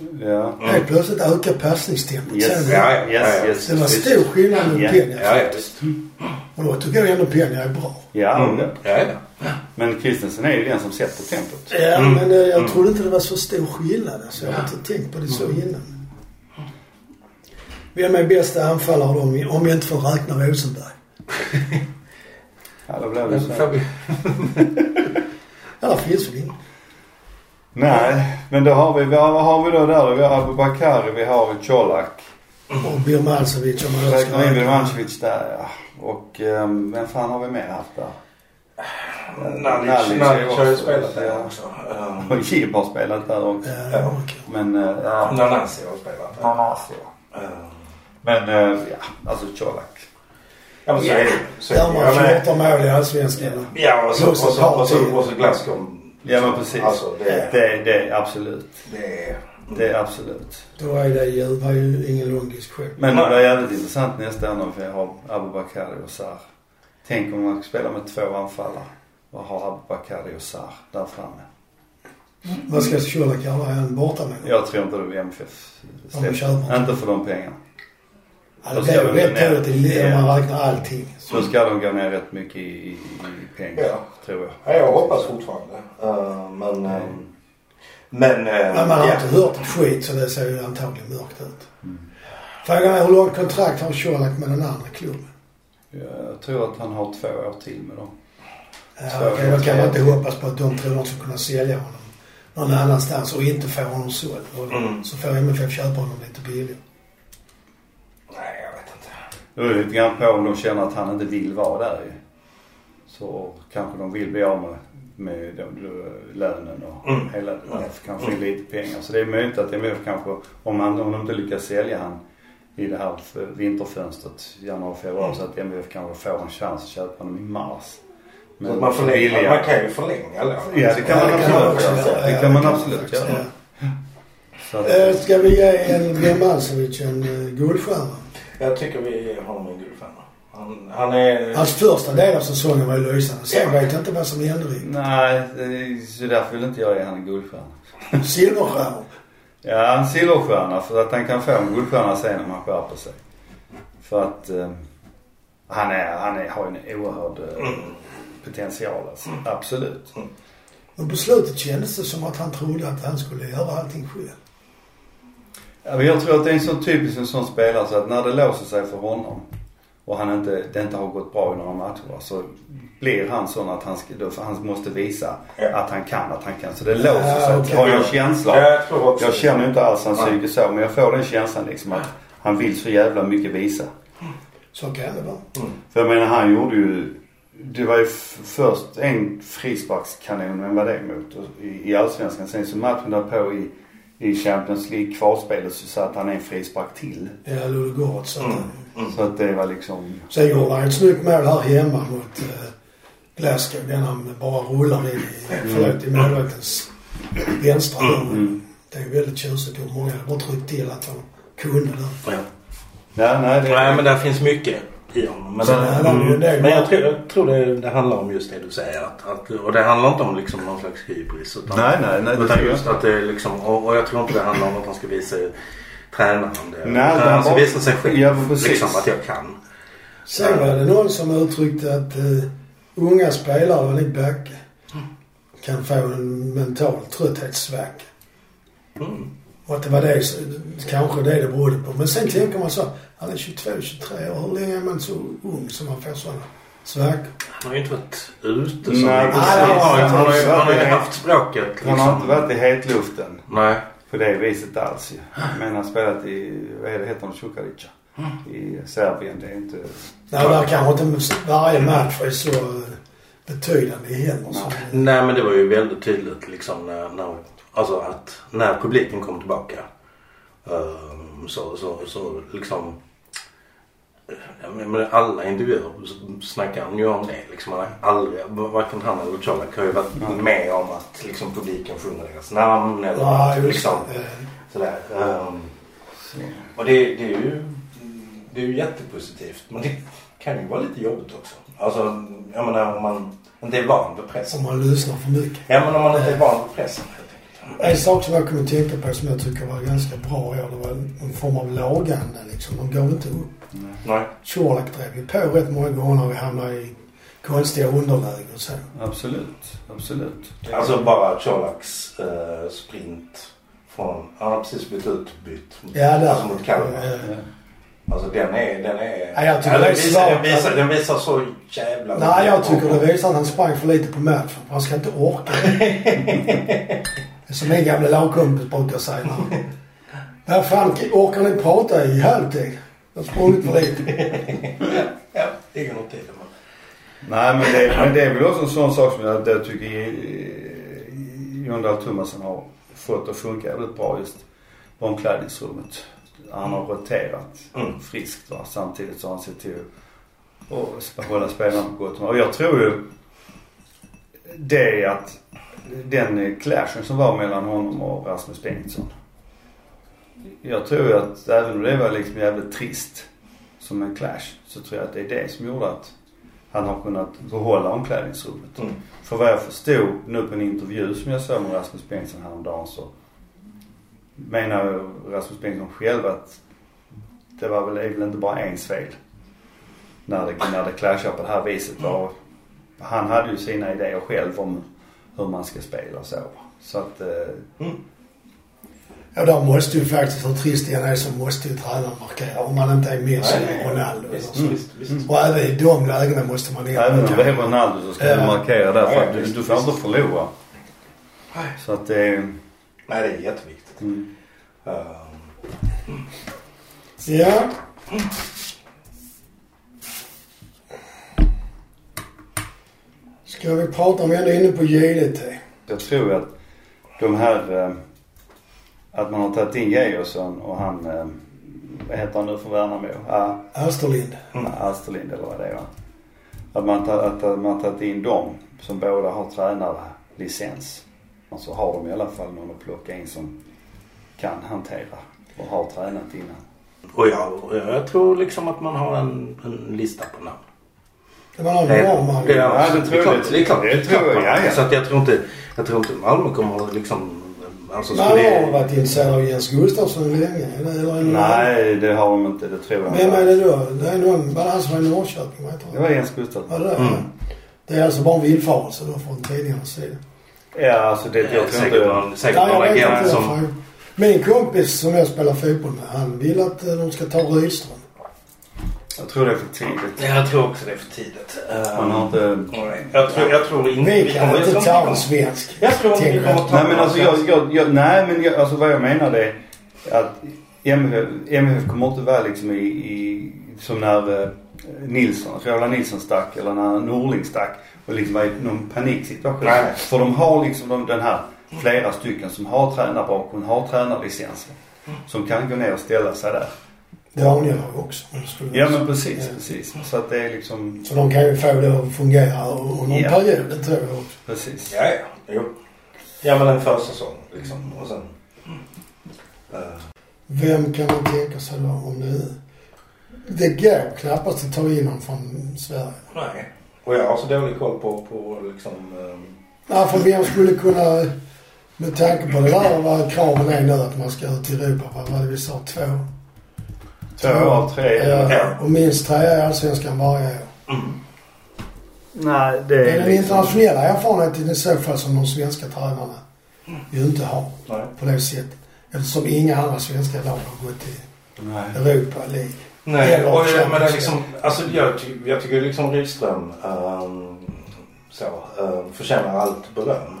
[SPEAKER 2] Mm.
[SPEAKER 3] Ja.
[SPEAKER 1] Helt plötsligt ökar passningstempot. Sen-
[SPEAKER 3] Yes,
[SPEAKER 2] Ja,
[SPEAKER 3] ja,
[SPEAKER 2] ja,
[SPEAKER 3] yes,
[SPEAKER 2] ja.
[SPEAKER 3] yes.
[SPEAKER 1] Det var
[SPEAKER 3] visst.
[SPEAKER 1] stor skillnad mot
[SPEAKER 3] Ja.
[SPEAKER 1] Peña
[SPEAKER 2] Ja, ja,
[SPEAKER 1] faktiskt.
[SPEAKER 2] visst.
[SPEAKER 1] Och då tycker jag ändå Peña är bra.
[SPEAKER 3] Ja,
[SPEAKER 2] Mm.
[SPEAKER 3] det-
[SPEAKER 2] Ja, ja.
[SPEAKER 3] men Kristensen är ju den som sätter tempot.
[SPEAKER 1] Ja, men eh, jag trodde inte det var så stor skillnad. Alltså, jag har inte tänkt på det så innan. Mm. Vem är bästa anfallare då, om- om jag inte får räkna Rosenberg?
[SPEAKER 3] Ja, då blev det
[SPEAKER 2] Men
[SPEAKER 1] Mm.
[SPEAKER 3] så.
[SPEAKER 2] får
[SPEAKER 3] här.
[SPEAKER 2] vi-
[SPEAKER 1] Ja, det finns väl ingen.
[SPEAKER 3] Nej, men då har vi, vad vad har vi då där då? Vi har Abubakari, vi har Colak.
[SPEAKER 1] Och Birmancevic om man då ska
[SPEAKER 3] Räknar in
[SPEAKER 1] räkna.
[SPEAKER 3] Birmancevic där ja. Och ehm, vem fan har vi mer haft där?
[SPEAKER 2] Nalic Nalic har ju spelat där också.
[SPEAKER 3] Och Jib har spelat där också.
[SPEAKER 1] Ja, okej.
[SPEAKER 3] Men eh, ja.
[SPEAKER 2] Nanasi har spelat där. Eh,
[SPEAKER 3] Men eh, ja, alltså Colak.
[SPEAKER 2] Ja, men så är det ju. Så är
[SPEAKER 1] Där har
[SPEAKER 2] det ju. Jag
[SPEAKER 1] man
[SPEAKER 2] menar-
[SPEAKER 1] 14 mål i Allsvenskan.
[SPEAKER 2] Ja, och så, och
[SPEAKER 1] Plus
[SPEAKER 2] så, och
[SPEAKER 1] ett par
[SPEAKER 2] så, och så,
[SPEAKER 1] till.
[SPEAKER 2] och så Glasgow.
[SPEAKER 3] Ja, men precis.
[SPEAKER 2] Alltså, det är...
[SPEAKER 3] Det, det är absolut.
[SPEAKER 2] Det är...
[SPEAKER 3] Det är absolut.
[SPEAKER 1] Då är det ju, var ju ingen lång diskussion.
[SPEAKER 3] Men det är jävligt intressant nästa år när vi har Abubakari och Sar. Tänk om man spelar med två anfallare och har Abubakari och Sar där framme.
[SPEAKER 1] Vad ska Colak göra? Är han borta med
[SPEAKER 3] Jag tror inte det blir MFF.
[SPEAKER 1] Om de köper.
[SPEAKER 3] Inte för de pengarna.
[SPEAKER 1] Ja, det blir ju rätt dåligt om man räknar allting.
[SPEAKER 3] Så ska de gå ner rätt mycket i, i, i pengar,
[SPEAKER 2] Ja.
[SPEAKER 3] tror
[SPEAKER 2] Ja,
[SPEAKER 3] jag.
[SPEAKER 2] jag hoppas fortfarande. Eh, men... eh, men... eh,
[SPEAKER 1] Men man har
[SPEAKER 2] ja.
[SPEAKER 1] inte hört ett skit så det ser ju antagligen mörkt ut.
[SPEAKER 3] Mm.
[SPEAKER 1] Frågan är hur långt kontrakt har Colak med den andra klubben?
[SPEAKER 3] Jag tror att han har två år till med dem.
[SPEAKER 1] Ja,
[SPEAKER 3] Så-
[SPEAKER 1] okej, då kan man inte hoppas på att de tror de ska kunna sälja honom någon
[SPEAKER 3] Mm.
[SPEAKER 1] annanstans och inte få honom såld. Och
[SPEAKER 2] Mm.
[SPEAKER 1] Så får MFF köpa honom lite billigare.
[SPEAKER 2] Nej, jag vet inte.
[SPEAKER 3] Det beror lite grann på om de känner att han inte vill vara där ju. Så kanske de vill bli av med, med de, de, lönen och
[SPEAKER 2] Mm.
[SPEAKER 3] hela det där. För kanske lite pengar. Så det är möjligt att MF kanske, om, han, om de inte lyckas sälja han i det här f- vinterfönstret, januari, februari, så att MF kanske får en chans att köpa honom i mars.
[SPEAKER 2] Mm. Så att man, förlänger, man kan ju förlänga lånet.
[SPEAKER 3] Ja, det kan man
[SPEAKER 1] Ja, det kan man
[SPEAKER 3] absolut
[SPEAKER 1] också
[SPEAKER 3] göra.
[SPEAKER 1] göra. Ja, faktiskt
[SPEAKER 3] Det kan man absolut göra.
[SPEAKER 1] göra.
[SPEAKER 3] Så att,
[SPEAKER 1] Eh, Ska vi ge en Birmancevic en eh, guldstjärna?
[SPEAKER 2] Jag tycker vi ger honom en guldstjärna. Han, han är...
[SPEAKER 1] Hans första del av säsongen var ju lysande. Sen vet jag inte vad som hände riktigt.
[SPEAKER 3] nej, det är- så därför vill inte jag ge han en guldstjärna.
[SPEAKER 1] Silverstjärnor.
[SPEAKER 3] Ja, en silverstjärna för att han kan få en guldstjärna sen om han skärper sig. För att eh, han, är, han är, har en oerhörd eh,
[SPEAKER 2] Mm.
[SPEAKER 3] potential alltså. Absolut.
[SPEAKER 1] Men på slutet kändes det som att han trodde att han skulle göra allting själv.
[SPEAKER 3] Ja, men jag tror att det är en sån typisk en sån spelare så att när det låser sig för honom och han inte, det inte har gått bra i några matcher va, så blir han sån att han, ska, då, för han måste visa
[SPEAKER 2] Ja.
[SPEAKER 3] att han kan, att han kan. Så det låser
[SPEAKER 1] Ja,
[SPEAKER 3] sig.
[SPEAKER 1] okej.
[SPEAKER 3] Har jag känslan.
[SPEAKER 2] Ja, jag tror också
[SPEAKER 3] Jag
[SPEAKER 2] det.
[SPEAKER 3] känner ju inte alls hans
[SPEAKER 2] Nej.
[SPEAKER 3] psyke så men jag får den känslan liksom att han vill så jävla mycket visa.
[SPEAKER 1] Så kan det vara.
[SPEAKER 3] För jag menar han gjorde ju, det var ju f- först en frisparkskanon, men vad det mot och i, i Allsvenskan. Sen så matchen därpå i, i Champions League kvalspelet så satte han en frispark till.
[SPEAKER 1] Ja, Ludogorets. Så, mm.
[SPEAKER 3] Så att det var liksom,
[SPEAKER 1] Sen gjorde han ett snyggt mål här hemma mot eh, Glasgow. Den han bara rullar in i, förlåt, i målvaktens vänstra mm. Det är ju väldigt tjusigt gjort. Många hade bara tryckt till att han kunde det.
[SPEAKER 2] Ja.
[SPEAKER 3] nej nej det,
[SPEAKER 2] Nej, men där finns mycket i honom. Men,
[SPEAKER 1] Så det handlar om ju en del-
[SPEAKER 2] men jag tror, jag tror det, det handlar om just det du säger. Att, att, och det handlar inte om liksom någon slags hybris. Utan,
[SPEAKER 3] Nej, nej, nej, det
[SPEAKER 2] utan
[SPEAKER 3] tror jag
[SPEAKER 2] just
[SPEAKER 3] inte.
[SPEAKER 2] att det är liksom, och, och jag tror inte det handlar om att han ska visa tränaren det.
[SPEAKER 3] Nej, det
[SPEAKER 2] tränaren som
[SPEAKER 3] var-
[SPEAKER 2] visar sig själv.
[SPEAKER 3] Ja, men precis.
[SPEAKER 2] liksom att jag kan.
[SPEAKER 1] Sen var det någon som uttryckte att eh, unga spelare, och lite backe,
[SPEAKER 2] Mm.
[SPEAKER 1] kan få en mental trötthetssvacka.
[SPEAKER 2] Mm.
[SPEAKER 1] Och att det var det, kanske det det berodde på. Men sen tänker man så, han är 22, 23 år. Hur länge är man så ung som man får sådana svackor?
[SPEAKER 2] Han har ju inte varit ute så
[SPEAKER 3] Nej,
[SPEAKER 2] mycket. Nej, han
[SPEAKER 3] precis.
[SPEAKER 2] har ju- han har ju- han har ju
[SPEAKER 3] Nej.
[SPEAKER 2] inte haft språket liksom.
[SPEAKER 3] Han har inte varit i hetluften
[SPEAKER 2] Nej.
[SPEAKER 3] på det viset alls ju. Men han spelat i, vad är det, heter han Cukarica? I Serbien. Det är inte...
[SPEAKER 1] Nej, där kanske inte varje match är så eh, betydande i heller. som-
[SPEAKER 2] Nej men det var ju väldigt tydligt liksom när, när, alltså att när publiken kom tillbaka. ehm, så, så, så liksom. eh, Men alla intervjuer så snackar han ju om det. Liksom, han har aldrig, varken han eller Colak har ju varit med om att liksom, publiken sjunger deras namn eller
[SPEAKER 1] Ja, just
[SPEAKER 2] liksom,
[SPEAKER 1] eh,
[SPEAKER 2] sådär. Ehm, och det, det, är ju, det är ju jättepositivt men det kan ju vara lite jobbigt också. Alltså jag menar om man inte är van vid pressen.
[SPEAKER 1] Om man lyssnar för mycket.
[SPEAKER 2] Ja men om man inte är van vid pressen helt enkelt.
[SPEAKER 1] En sak som jag kommer att tänka på som jag tycker var ganska bra i år, det var en form av lagande liksom. De gav inte upp.
[SPEAKER 2] Nej.
[SPEAKER 1] Colak drev ju på rätt många gånger när vi hamnade i konstiga underlägen och så.
[SPEAKER 3] Absolut, absolut.
[SPEAKER 2] Alltså bara Colaks eh, sprint från, han har precis blivit utbytt
[SPEAKER 1] Ja, där.
[SPEAKER 2] alltså mot Kalmar.
[SPEAKER 1] Eh,
[SPEAKER 3] Ja.
[SPEAKER 2] Alltså den är, den är... Alltså,
[SPEAKER 1] Ja, jag tycker
[SPEAKER 2] den,
[SPEAKER 1] det är
[SPEAKER 2] visar, den,
[SPEAKER 1] svagt.
[SPEAKER 2] visar, den visar så jävla Mm.
[SPEAKER 1] Nej, jag tycker det visar att han sprang för lite på matchen. Han ska inte orka. Som min gamla lagkompis brukar säga. Vad fan, orkar ni prata i halvtid? Jag har sprungit för lite.
[SPEAKER 2] Ja, det är något i det. men-
[SPEAKER 3] Nej men det, men det är väl också en sån sak som jag, jag tycker eh, Jon Dahl Tomasson har fått att funka jävligt bra just på omklädningsrummet. Han har roterat
[SPEAKER 2] Mm.
[SPEAKER 3] friskt va? samtidigt så har han sett till att sp- hålla spelarna på gott humör. Och jag tror ju det är att den eh, clashen som var mellan honom och Rasmus Bengtsson. Jag tror ju att även om det var liksom jävligt trist som en clash så tror jag att det är det som gjorde att han har kunnat behålla omklädningsrummet.
[SPEAKER 2] Mm.
[SPEAKER 3] För vad jag förstod nu på en intervju som jag såg med Rasmus Bengtsson häromdagen så menar ju Rasmus Bengtsson själv att det var väl, det är väl inte bara ens fel när det, när det clashar på det här viset. Och han hade ju sina idéer själv om hur man ska spela och så. Så att, eh,
[SPEAKER 1] Ja, där måste ju faktiskt, hur trist det än är, så måste ju tränaren markera. Om man inte är Messi
[SPEAKER 2] Nej, nej, Mm.
[SPEAKER 1] eller Ronaldo. Mm. eller
[SPEAKER 2] Visst,
[SPEAKER 1] så.
[SPEAKER 2] visst, visst.
[SPEAKER 1] Och även i de lägena måste man in.
[SPEAKER 3] även om det är Ronaldo så ska du
[SPEAKER 1] Ja.
[SPEAKER 3] markera där för
[SPEAKER 2] Ja,
[SPEAKER 3] att du,
[SPEAKER 2] visst,
[SPEAKER 3] du får inte förlora.
[SPEAKER 2] Nej.
[SPEAKER 3] Så att eh, det är...
[SPEAKER 2] Nej, det är jätteviktigt.
[SPEAKER 3] Mm.
[SPEAKER 2] Ehm,
[SPEAKER 1] Ja. Ska vi prata om, vi ändå är inne på eh, JDT.
[SPEAKER 3] Jag tror att de här... eh, Att man har tagit in Georgsson och han... eh, Vad heter han nu från Värnamo? Ah,
[SPEAKER 1] Österlind.
[SPEAKER 3] Asterlind eller vad det är. va? Att man, ta- att man har tagit in dem som båda har tränarlicens. Och så har de i alla fall någon att plocka in som kan hantera och har tränat innan.
[SPEAKER 2] och jag, och jag tror liksom att man har en, en lista på namn.
[SPEAKER 1] Det var någon
[SPEAKER 2] Nej,
[SPEAKER 1] norrman.
[SPEAKER 2] det, är-
[SPEAKER 3] Ja, det tror jag.
[SPEAKER 2] klart, Det är klart.
[SPEAKER 3] Det tror jag, ja, ja.
[SPEAKER 2] Så att jag tror inte, jag tror inte Malmö kommer att liksom... Alltså,
[SPEAKER 1] Man har varit intresserad av Jens Gustafsson länge. Eller en
[SPEAKER 3] Nej, det har de inte. Det tror jag
[SPEAKER 1] Vem är
[SPEAKER 3] inte.
[SPEAKER 1] det då? Det är någon, var det han som var i Norrköping? Vad heter
[SPEAKER 3] Det
[SPEAKER 1] han?
[SPEAKER 3] var Jens Gustafsson.
[SPEAKER 1] Var det det?
[SPEAKER 2] Mm.
[SPEAKER 1] Det är alltså bara en villfarelse då från tidningarnas sida.
[SPEAKER 3] Ja, alltså det, jag tror
[SPEAKER 2] säkert
[SPEAKER 3] inte...
[SPEAKER 2] någon, säkert någon
[SPEAKER 1] Nej, jag vet
[SPEAKER 2] agent
[SPEAKER 1] inte
[SPEAKER 2] som...
[SPEAKER 1] varför. Min kompis som jag spelar fotboll med, han vill att eh, de ska ta Rydström.
[SPEAKER 3] Jag tror det är för tidigt.
[SPEAKER 2] Ja, jag tror också det är för tidigt. Ehm,
[SPEAKER 3] Man har inte...
[SPEAKER 2] nej, jag tror, jag tror inte...
[SPEAKER 1] Vi kan
[SPEAKER 2] kommer-
[SPEAKER 1] inte
[SPEAKER 2] jag tror
[SPEAKER 1] ta en
[SPEAKER 2] kommer-
[SPEAKER 1] svensk.
[SPEAKER 2] Jag tror inte vi
[SPEAKER 1] tänker
[SPEAKER 2] kommer
[SPEAKER 1] jag.
[SPEAKER 2] ta
[SPEAKER 3] Nej men alltså jag, jag, jag, nej men jag, alltså vad jag menar det är att MHF, MHF kommer inte vara liksom i, i som när eh, Nilsson, Roland Nilsson stack eller när Norling stack och liksom var i någon paniksituation.
[SPEAKER 2] Nej.
[SPEAKER 3] För de har liksom de, den här flera stycken som har tränarbakgrund, har tränarlicenser. Som kan gå ner och ställa sig där.
[SPEAKER 1] Daniel har ju också. om det skulle
[SPEAKER 3] Ja
[SPEAKER 1] vara
[SPEAKER 3] men
[SPEAKER 1] så.
[SPEAKER 3] precis,
[SPEAKER 1] Ja.
[SPEAKER 3] precis. Så att det är liksom,
[SPEAKER 1] Så de kan ju få det att fungera under en
[SPEAKER 3] Ja.
[SPEAKER 1] period, det tror jag också.
[SPEAKER 3] precis.
[SPEAKER 2] Ja, ja. Jo. Ja, men en försäsong liksom. Och sen... eh,
[SPEAKER 1] Vem kan man tänka sig då om det är... Det går knappast att ta in någon från Sverige.
[SPEAKER 2] nej. Och jag har så dålig koll på, på liksom... ehm,
[SPEAKER 1] Nej, för vem skulle kunna Med tanke på det där och vad kraven är nu att man ska ut i Europa. Vad var det vi sa? Två?
[SPEAKER 3] Två av tre.
[SPEAKER 1] Ja, och minst tre i Allsvenskan varje år.
[SPEAKER 2] Mm.
[SPEAKER 4] Nej, det
[SPEAKER 1] Det är
[SPEAKER 4] är...
[SPEAKER 1] den
[SPEAKER 4] Liksom...
[SPEAKER 1] internationella erfarenheten i så fall som de svenska tränarna ju inte har
[SPEAKER 3] Nej.
[SPEAKER 1] på det sättet. Eftersom inga andra svenska lag har gått till
[SPEAKER 3] Nej.
[SPEAKER 1] Europa League.
[SPEAKER 2] Nej,
[SPEAKER 1] Eller
[SPEAKER 2] och, eh, men det är
[SPEAKER 1] Champions
[SPEAKER 2] liksom, alltså, jag, ty- jag tycker liksom Rydström um, så, um, förtjänar allt beröm.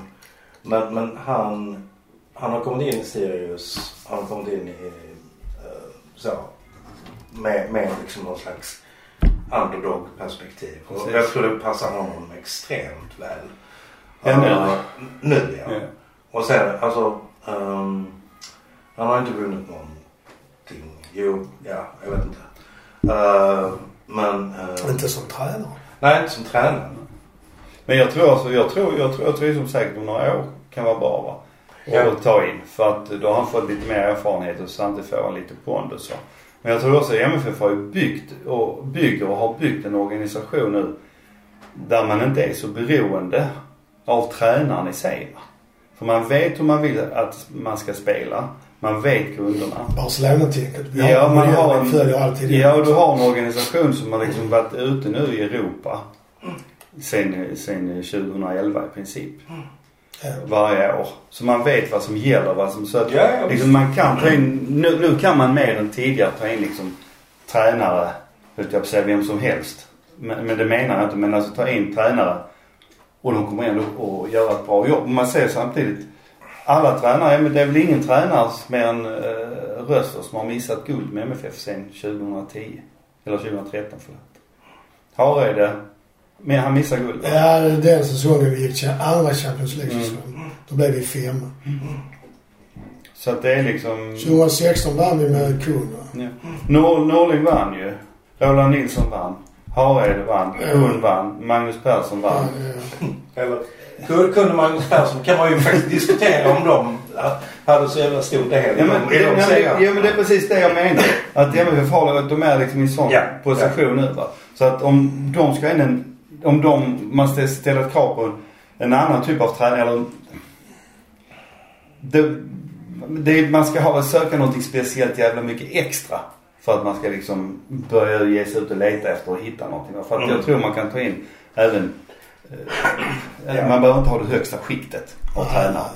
[SPEAKER 2] Men, men han, han har kommit in i Sirius, han har kommit in i eh, så, med, med liksom någon slags underdog-perspektiv. Och
[SPEAKER 3] Precis.
[SPEAKER 2] jag tror det passar honom extremt väl.
[SPEAKER 3] Ja, nu.
[SPEAKER 2] Eh, nu ja.
[SPEAKER 3] Ja.
[SPEAKER 2] Och sen, alltså. ehm, han har inte vunnit någonting. Jo, ja, jag vet inte. Eh, men... eh,
[SPEAKER 1] Inte som tränare.
[SPEAKER 2] Nej, inte som tränare.
[SPEAKER 3] Men jag tror alltså, jag tror, jag tror, jag tror som säkert om några år kan vara bra va? Och
[SPEAKER 2] Ja.
[SPEAKER 3] ta in. För att då har han fått lite mer erfarenhet och samtidigt får han lite pondus. va. Men jag tror också att MFF har ju byggt och bygger och har byggt en organisation nu där man inte är så beroende av tränaren i sig. Va? För man vet hur man vill att man ska spela. Man vet grunderna.
[SPEAKER 1] Barcelona-tänket. Vi
[SPEAKER 3] Ja,
[SPEAKER 1] har-
[SPEAKER 3] man
[SPEAKER 1] vi
[SPEAKER 3] har en-
[SPEAKER 1] vi följer alltid det.
[SPEAKER 3] Ja, och du har en organisation som har liksom varit ute nu i Europa sen, sen 2011 i princip.
[SPEAKER 1] Ja.
[SPEAKER 3] Varje år. Så man vet vad som gäller. Vad som, så att,
[SPEAKER 2] Ja, ja,
[SPEAKER 3] liksom, man kan ta in, nu, nu kan man mer än tidigare ta in liksom, tränare, höll jag på att säga, vem som helst. Men, men det menar jag inte. Men alltså ta in tränare och de kommer ändå och göra ett bra jobb. Men man ser samtidigt alla tränare, ja, men det är väl ingen tränare mer än eh, Röster som har missat guld med MFF sedan 2010. Eller 2013 förlåt. Hareide, men han missar guld va?
[SPEAKER 1] Ja, den säsongen vi gick till andra Champions League-säsongen.
[SPEAKER 3] Mm.
[SPEAKER 1] Då blev vi femma.
[SPEAKER 3] Så att det är liksom...
[SPEAKER 1] 2016 vann vi med Kuhn.
[SPEAKER 3] Ja. Nor- Norling vann ju. Roland Nilsson vann. Hareide vann. Hund vann. Magnus Persson vann.
[SPEAKER 1] Ja, ja.
[SPEAKER 2] Eller Kun- kunde Magnus Persson kan man ju faktiskt diskutera om de eh, hade så jävla stor del
[SPEAKER 3] Ja
[SPEAKER 2] i
[SPEAKER 3] men,
[SPEAKER 2] de- i
[SPEAKER 3] det,
[SPEAKER 2] de
[SPEAKER 3] nej,
[SPEAKER 2] serierna.
[SPEAKER 3] men, ja men det är precis det jag menar. Att MFF har, de är liksom i sån
[SPEAKER 2] Ja,
[SPEAKER 3] position nu va. Så att om de ska in en, om de, man ska ställa ett krav på en, en annan typ av tränare eller en- det, det, man ska ha, söka någonting speciellt jävla mycket extra. För att man ska liksom börja ge sig ut och leta efter och hitta någonting. va. För att
[SPEAKER 2] Mm.
[SPEAKER 3] jag tror man kan ta in även, eh,
[SPEAKER 2] Ja.
[SPEAKER 3] man behöver inte ha det högsta skiktet av tränare.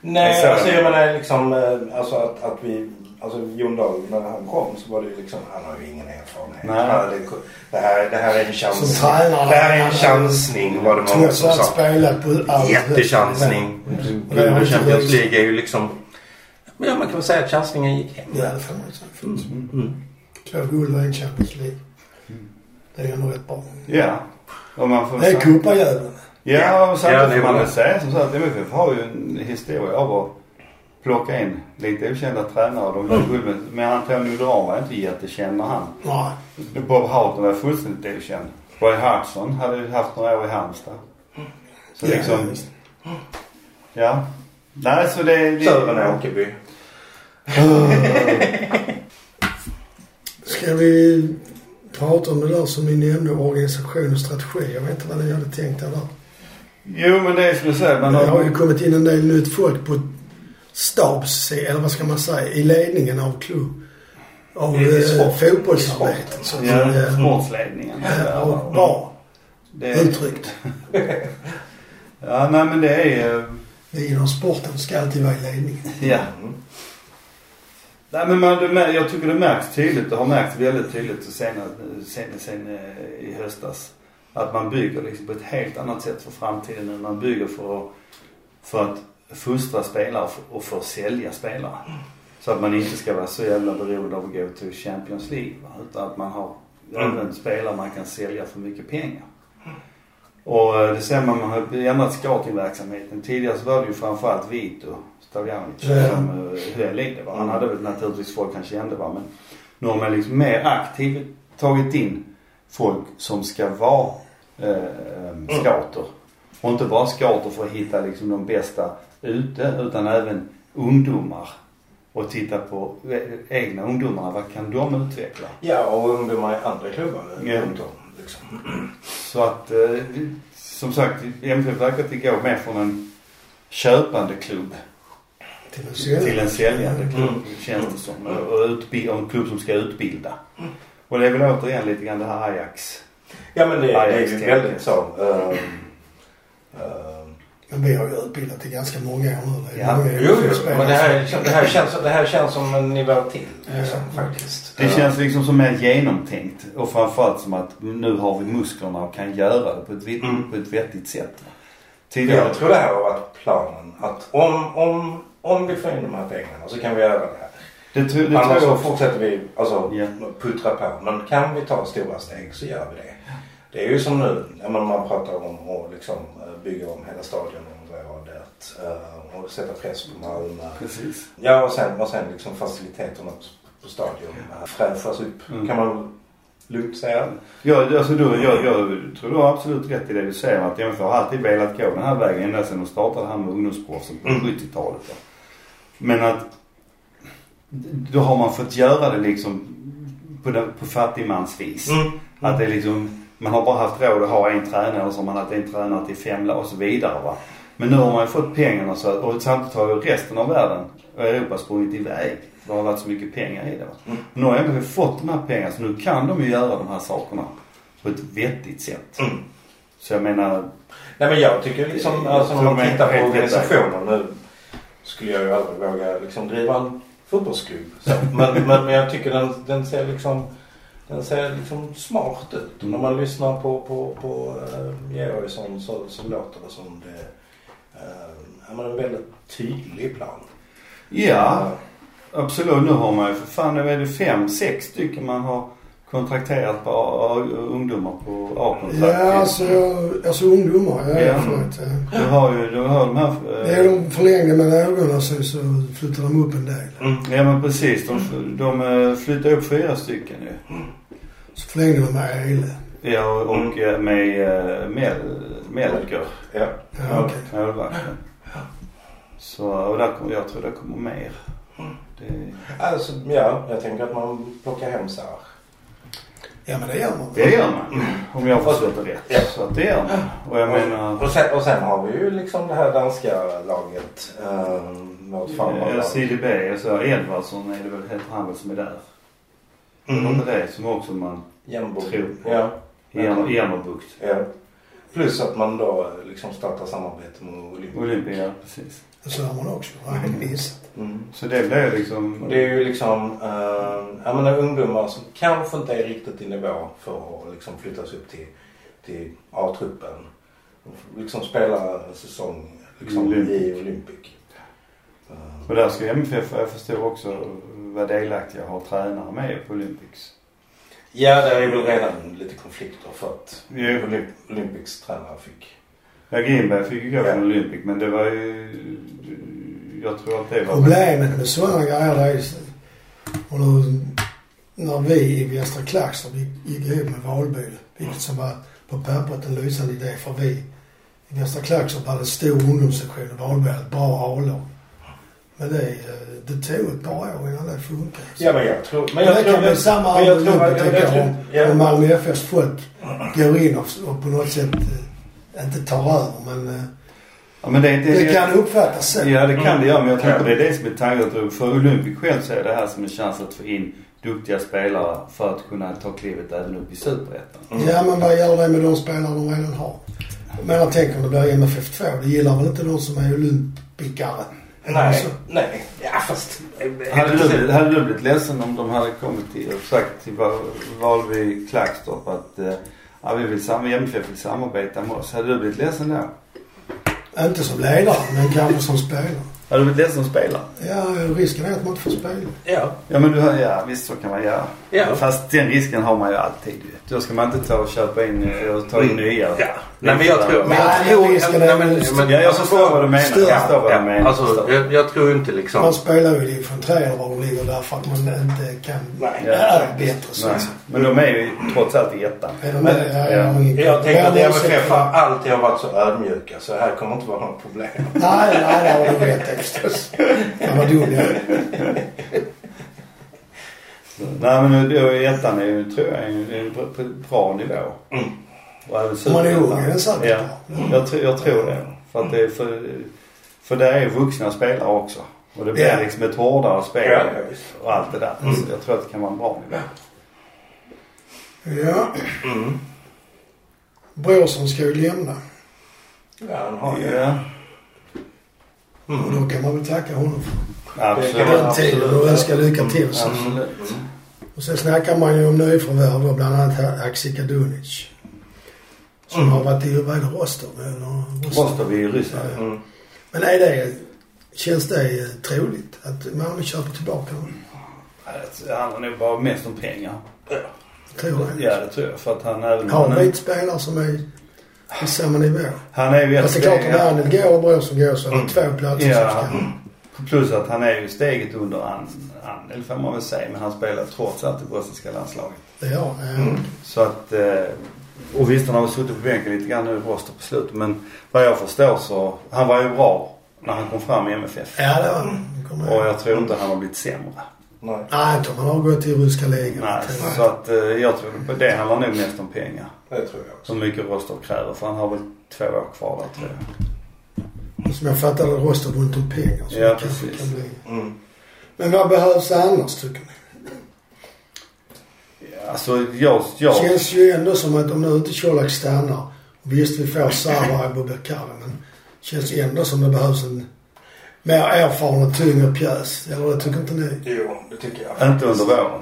[SPEAKER 2] Nej,
[SPEAKER 3] Så.
[SPEAKER 2] alltså jag menar liksom eh, alltså att, att vi... Alltså Jon Dahl, när han kom så var det ju liksom, han har ju ingen erfarenhet.
[SPEAKER 3] Nej.
[SPEAKER 2] Han hade- Det, här, det här är en
[SPEAKER 1] Som
[SPEAKER 2] chansning.
[SPEAKER 1] tränare.
[SPEAKER 2] Det här är en chansning var det många
[SPEAKER 1] Trots
[SPEAKER 2] som
[SPEAKER 1] allt
[SPEAKER 2] sa.
[SPEAKER 1] spelat på allt.
[SPEAKER 2] Jättechansning.
[SPEAKER 1] Det är
[SPEAKER 2] Guld och
[SPEAKER 1] inte
[SPEAKER 2] Champions
[SPEAKER 1] riktigt.
[SPEAKER 2] League är ju liksom... Men ja, man kan väl säga att chansningen gick hem.
[SPEAKER 1] Ja, det får man säga.
[SPEAKER 3] Mm,
[SPEAKER 1] Två guld och en Champions League. Det är ändå rätt bra.
[SPEAKER 3] Ja. Och man får
[SPEAKER 1] Det är
[SPEAKER 3] sam-
[SPEAKER 1] cupajäveln.
[SPEAKER 3] Ja, och
[SPEAKER 2] Ja,
[SPEAKER 3] samtidigt
[SPEAKER 2] det är
[SPEAKER 3] får man
[SPEAKER 2] bra.
[SPEAKER 3] väl säga som så att MFF har ju en historia av att plocka in lite okända tränare. och De
[SPEAKER 1] Mm.
[SPEAKER 3] blev guld Men Antonio Duran var inte jättekänd när han.
[SPEAKER 1] Nej.
[SPEAKER 3] Bob Houghton var fullständigt okänd. Roy Hodgson hade ju haft några år i Halmstad. Så
[SPEAKER 1] Ja,
[SPEAKER 3] liksom,
[SPEAKER 1] visst.
[SPEAKER 3] ja. Nej, så det... det
[SPEAKER 2] Sören Åkerby.
[SPEAKER 1] Ska vi prata om det där som ni nämnde, organisation och strategi? Jag vet inte vad ni hade tänkt där.
[SPEAKER 3] Jo, men det är som du säger. Man
[SPEAKER 1] Det har
[SPEAKER 3] har,
[SPEAKER 1] ju kommit in en del nytt folk på stabs, eller vad ska man säga, i ledningen av klubb. Av
[SPEAKER 2] I- i
[SPEAKER 1] eh,
[SPEAKER 2] sport. Mm.
[SPEAKER 1] fotbollsarbetet. Så att,
[SPEAKER 3] ja,
[SPEAKER 1] eh,
[SPEAKER 3] sportsledningen.
[SPEAKER 1] ja, och bra
[SPEAKER 3] Det,
[SPEAKER 1] uttryckt.
[SPEAKER 3] ja, nej men det är ju...
[SPEAKER 1] Vi inom sporten ska alltid vara i ledningen.
[SPEAKER 3] Ja. Mm. Nej, men man, det mär- jag tycker det märks tydligt och har märkts väldigt tydligt sen, sen, sen eh, i höstas. Att man bygger liksom på ett helt annat sätt för framtiden än man bygger för att, för att fostra spelare och för- och för att sälja spelare. Så att man inte ska vara så jävla beroende av att gå till Champions League. Va? Utan att man har även spelare man kan sälja för mycket pengar. Och eh, det ser man, man har ändrat scoutingverksamheten. Tidigare så var det ju framförallt Vito Stojanovic
[SPEAKER 1] Ja.
[SPEAKER 3] som eh, höll i det. Va? Han hade väl naturligtvis folk han kände va. Men nu har man liksom mer aktivt tagit in folk som ska vara eh, eh, scouter. Och inte bara scouter för att hitta liksom de bästa ute utan även ungdomar. Och titta på eh, egna ungdomarna. Vad kan de utveckla?
[SPEAKER 2] Ja, och ungdomar i andra klubbar
[SPEAKER 3] Ja.
[SPEAKER 2] runt om. Liksom.
[SPEAKER 3] eh, Så att, eh, vi- som sagt, MFF verkar att det går mer från en köpande klubb
[SPEAKER 1] Till en
[SPEAKER 3] till
[SPEAKER 1] säljare.
[SPEAKER 3] en säljande klubb
[SPEAKER 2] Mm.
[SPEAKER 3] känns det som. Och, och, utbi- och en klubb som ska utbilda.
[SPEAKER 2] Mm.
[SPEAKER 3] Och det är väl återigen lite grann det här Ajax.
[SPEAKER 2] Ja men det, det är ju
[SPEAKER 3] Ajax-tänket.
[SPEAKER 2] väldigt så. ehm, ehm,
[SPEAKER 1] Men vi har ju utbildat i ganska många år nu. Det är
[SPEAKER 3] Ja,
[SPEAKER 1] många
[SPEAKER 2] um, Jo, jo,
[SPEAKER 1] spelare
[SPEAKER 2] men det
[SPEAKER 1] som-
[SPEAKER 2] här, det, här känns, det här känns som en nivå till liksom, faktiskt.
[SPEAKER 3] Det känns liksom som mer genomtänkt och framförallt som att nu har vi musklerna och kan göra det på ett, vitt,
[SPEAKER 2] Mm.
[SPEAKER 3] på ett vettigt sätt. Tidigare.
[SPEAKER 2] Jag tror det här har varit planen. Att om, om, om vi får in de här pengarna så kan vi göra det här.
[SPEAKER 3] Det, tro, det
[SPEAKER 2] Annars
[SPEAKER 3] tror
[SPEAKER 2] så
[SPEAKER 3] jag
[SPEAKER 2] fortsätter vi alltså,
[SPEAKER 3] Ja.
[SPEAKER 2] puttra på. Men kan vi ta stora steg så gör vi det. Det är ju som nu, ja, men man pratar om att liksom, eh, bygga om hela stadion under året. eh, Och sätta press på Malmö.
[SPEAKER 3] Precis.
[SPEAKER 2] Ja och sen, och sen liksom faciliteterna på- på stadion eh, fräschas upp.
[SPEAKER 3] Mm.
[SPEAKER 2] Kan man lugnt säga.
[SPEAKER 3] Jag, alltså, du, jag, jag tror du har absolut rätt i det du säger. Att MFF har alltid velat gå den här vägen ända sedan de startade här med ungdomsproffsen på
[SPEAKER 2] Mm.
[SPEAKER 3] 70-talet. Då. Men att då har man fått göra det liksom på, den, på fattigmansvis.
[SPEAKER 2] Mm.
[SPEAKER 3] Att
[SPEAKER 1] Mm.
[SPEAKER 3] det är liksom, man har bara haft råd att ha en tränare och så har man haft en tränare till fem lag och så vidare. Va? Men nu har man ju fått pengarna så, att- och samtidigt har ju resten av världen och Europa sprungit iväg. Det har varit så mycket pengar i det. Va?
[SPEAKER 2] Mm.
[SPEAKER 3] Nu har MFF fått de här pengarna så nu kan de ju göra de här sakerna på ett vettigt sätt.
[SPEAKER 2] Mm.
[SPEAKER 3] Så jag menar,
[SPEAKER 2] Nej men jag tycker liksom, alltså, när man
[SPEAKER 3] Jag tror
[SPEAKER 2] tittar
[SPEAKER 3] jag är
[SPEAKER 2] på
[SPEAKER 3] helt rätt
[SPEAKER 2] organisationen nu skulle jag ju aldrig våga liksom driva en fotbollsklubb. Så, men, men, men jag tycker den, den ser liksom den ser liksom smart ut. Och
[SPEAKER 3] Mm.
[SPEAKER 2] när man lyssnar på, på, på eh, Georgsson så, så låter det som det eh, ja, men en väldigt tydlig plan.
[SPEAKER 3] ja absolut. Nu har man ju för fan, nu är det fem, sex stycken man har kontrakterat på A- A- ungdomar på A-kontrakt.
[SPEAKER 1] Ja, alltså, jag- alltså ungdomar. Ja,
[SPEAKER 3] Ja.
[SPEAKER 1] Förlåt, ja.
[SPEAKER 3] Du har ju, du har de här... eh,
[SPEAKER 1] Det är de förlängde med ögonen och sen så flyttade de upp en del.
[SPEAKER 3] Ja men precis. De, de eh, flyttade upp fyra stycken ju.
[SPEAKER 1] Så förlängde de med Eile.
[SPEAKER 3] Ja och och,
[SPEAKER 2] Mm.
[SPEAKER 3] eh, med eh, Mel, Melker,
[SPEAKER 2] Ja.
[SPEAKER 1] Ja, okej.
[SPEAKER 3] målvakten. Så och där kommer, jag tror det kommer mer. Det,
[SPEAKER 2] Alltså, ja, jag tänker att man plockar hem så här.
[SPEAKER 1] Ja, men det gör man.
[SPEAKER 3] det gör man. Om jag har förstått det rätt.
[SPEAKER 2] Ja.
[SPEAKER 3] Så att det gör man. Och jag menar...
[SPEAKER 2] Och sen, och sen har vi ju liksom det här danska laget. Eh, vårt
[SPEAKER 3] eh,
[SPEAKER 2] farbrorlag.
[SPEAKER 3] CDB, så alltså Edvardsson är det väl, heter han väl som är där.
[SPEAKER 2] Mm.
[SPEAKER 3] Det var inte det som också man...
[SPEAKER 2] Jämbo.
[SPEAKER 3] Tror på.
[SPEAKER 2] Ja.
[SPEAKER 3] i Jam- i Jammerbukt.
[SPEAKER 2] ja. Plus att man då liksom startar samarbete med Olympia.
[SPEAKER 3] Olympia, precis.
[SPEAKER 1] Det sa man också. Ja, visst.
[SPEAKER 2] Mm.
[SPEAKER 3] Så det blev liksom...
[SPEAKER 2] Och det är ju liksom eh, jag menar, ungdomar som kanske inte är riktigt i nivå för att liksom flyttas upp till, till A-truppen. Och f- Liksom spela en säsong liksom,
[SPEAKER 3] Olympic.
[SPEAKER 2] i Olympic. Eh,
[SPEAKER 3] Och där ska MFF, jag förstår också, vara delaktiga och ha tränare med på Olympics.
[SPEAKER 2] Ja, där är väl redan lite konflikter för att
[SPEAKER 3] Jo.
[SPEAKER 2] Olymp- Olympics tränare fick.
[SPEAKER 3] Ja, Grimberg fick ju gå
[SPEAKER 2] Ja.
[SPEAKER 3] från Olympic, men det var ju... Jag tror att det var...
[SPEAKER 1] Problemet med sådana grejer det är och nu, när vi i Västra Klagstorp gick- gick ihop med Valby, vilket som var på pappret en lysande idé för vi i Västra Klagstorp hade en stor ungdomssektion och Valby hade ett bra A-lag. Men det, eh, det tog ett par år innan det funkade.
[SPEAKER 2] Ja, men jag tror...
[SPEAKER 1] Men det kan bli samma
[SPEAKER 2] men jag tror-
[SPEAKER 1] argument
[SPEAKER 2] jag- jag
[SPEAKER 1] tänker
[SPEAKER 2] tror-
[SPEAKER 1] jag, om,
[SPEAKER 2] ja.
[SPEAKER 1] om Malmö FFs folk går in och, och på något sätt eh, inte tar över men eh,
[SPEAKER 3] Ja, men det, Mm.
[SPEAKER 1] det kan uppfattas så.
[SPEAKER 3] Ja, det kan det göra, men
[SPEAKER 2] Mm.
[SPEAKER 3] jag tror inte det är det som är tanken. Jag tror För Olympic själv så är det här som en chans att få in duktiga spelare för att kunna ta klivet även upp i Superettan.
[SPEAKER 1] Ja men vad gör det med de spelare de redan har? Jag menar tänk om det blir MFF 2. Det gillar väl inte de som är olympikare? Eller
[SPEAKER 2] Nej,
[SPEAKER 1] så.
[SPEAKER 2] nej. Ja, fast...
[SPEAKER 3] Hade du, hade du blivit ledsen om de hade kommit till och sagt till Val- Valby Klagstorp att eh, ja, vi vill, sam- MFF vill samarbeta med oss. Hade du blivit ledsen då?
[SPEAKER 1] Inte som ledare men kanske som spelare.
[SPEAKER 3] Har du blivit ledsen som spelare?
[SPEAKER 1] Ja risken är att man inte får spela.
[SPEAKER 2] Ja.
[SPEAKER 3] Ja men du har, ja visst så kan man göra.
[SPEAKER 2] Ja.
[SPEAKER 3] Fast den risken har man ju alltid ju. Då ska man inte ta och köpa in eh, och ta in nya.
[SPEAKER 2] Mm. Ja. Nej men jag tror... Men
[SPEAKER 1] Nej,
[SPEAKER 2] jag tror
[SPEAKER 1] jag risken är
[SPEAKER 2] nej, men-
[SPEAKER 1] väl-
[SPEAKER 2] men-
[SPEAKER 3] Ja jag
[SPEAKER 2] alltså,
[SPEAKER 3] förstår vad du menar.
[SPEAKER 1] Stör.
[SPEAKER 3] Jag förstår vad du
[SPEAKER 2] Ja,
[SPEAKER 3] menar.
[SPEAKER 2] alltså, jag, jag tror inte liksom...
[SPEAKER 1] Man spelar ju i division 3 eller var de ligger därför att man inte kan...
[SPEAKER 2] Nej.
[SPEAKER 1] Det är bättre så
[SPEAKER 3] Nej.
[SPEAKER 1] att säga.
[SPEAKER 3] Men de är ju trots allt i ettan.
[SPEAKER 1] Är de med? Ja, jag har ingen-
[SPEAKER 2] Jag tänker att
[SPEAKER 1] Jag har
[SPEAKER 2] MFF
[SPEAKER 1] ursäkt.
[SPEAKER 2] har alltid har varit så ödmjuka så här kommer inte vara några problem.
[SPEAKER 1] Nej, nej, det har du rätt i förstås. Fan vad dum jag är.
[SPEAKER 3] Nej men nu- då, i ettan är ju, tror jag, en, en br- bra nivå.
[SPEAKER 2] Mm.
[SPEAKER 3] Och även
[SPEAKER 1] Om man är
[SPEAKER 3] superettan.
[SPEAKER 1] ung är det säkert
[SPEAKER 3] Ja.
[SPEAKER 1] bra.
[SPEAKER 3] Jag, tror- jag tror det. För att det är för... För där är vuxna spelare också. Och det blir
[SPEAKER 1] Ja.
[SPEAKER 3] liksom ett hårdare spel
[SPEAKER 2] Ja, ja, visst. Mm.
[SPEAKER 3] och allt det där. Så jag tror att det kan vara en bra nivå.
[SPEAKER 1] Ja.
[SPEAKER 2] Mm.
[SPEAKER 1] Bråsen ska ju lämna.
[SPEAKER 2] Ja, han har ju.
[SPEAKER 3] Ja,
[SPEAKER 2] Mm.
[SPEAKER 1] Och då kan man väl tacka honom för
[SPEAKER 3] absolut.
[SPEAKER 2] kan man
[SPEAKER 1] den tiden och önska lycka till. Så.
[SPEAKER 3] Absolut.
[SPEAKER 1] Mm. Och sen snackar man ju om nyförvärv då, bland annat här Axel Kadunic. Som
[SPEAKER 3] Mm.
[SPEAKER 1] har varit i, vad är det, Rostov? Eller Rostov.
[SPEAKER 3] Rostov i Ryssland.
[SPEAKER 2] Mm.
[SPEAKER 1] Men är det, känns det eh, troligt att Malmö köper tillbaka honom?
[SPEAKER 3] Det handlar nog bara mest om pengar.
[SPEAKER 1] Tror jag.
[SPEAKER 3] Ja, det tror jag. För att han även...
[SPEAKER 1] Har
[SPEAKER 3] han,
[SPEAKER 1] vi
[SPEAKER 3] är,
[SPEAKER 1] inte spelare som är på samma nivå?
[SPEAKER 3] han är ju ett
[SPEAKER 1] Fast det är klart
[SPEAKER 3] steg-
[SPEAKER 1] om Arnold går och Bråsen går så är det två platser
[SPEAKER 3] Ja.
[SPEAKER 1] som ska...
[SPEAKER 3] Plus att han är ju steget under An- Anel får man väl säga. Men han spelar trots allt i bosniska landslaget.
[SPEAKER 1] Det är jag. eh,
[SPEAKER 3] Så att... eh, Och visst han har väl suttit på bänken lite grann nu i Rostov på slutet. Men vad jag förstår så... Han var ju bra när han kom fram i MFF.
[SPEAKER 1] Ja, det var det. kommer
[SPEAKER 3] Och
[SPEAKER 1] jag. ihåg.
[SPEAKER 3] jag tror inte han har blivit sämre.
[SPEAKER 2] Nej.
[SPEAKER 1] Nej, jag tror man har gått till ryska ligan.
[SPEAKER 3] Nej, så att eh, jag tror... Det handlar nog mest om pengar.
[SPEAKER 2] Det tror jag också.
[SPEAKER 3] Hur mycket Rostov kräver. För han har väl två år kvar där tror jag.
[SPEAKER 1] Som jag fattar det rostar runt om pengar. Så
[SPEAKER 3] Ja,
[SPEAKER 1] det kanske
[SPEAKER 3] precis.
[SPEAKER 1] kan bli.
[SPEAKER 2] Mm.
[SPEAKER 1] Men vad behövs annars tycker ni?
[SPEAKER 3] Alltså jag... jag
[SPEAKER 1] Det känns ju ändå som att om nu inte Colak stannar. Visst vi får Sarr och Abubakar men det känns ju ändå som det behövs en mer erfaren och tyngre pjäs. Eller det tycker inte ni?
[SPEAKER 2] Jo, det tycker jag.
[SPEAKER 3] Inte under våren.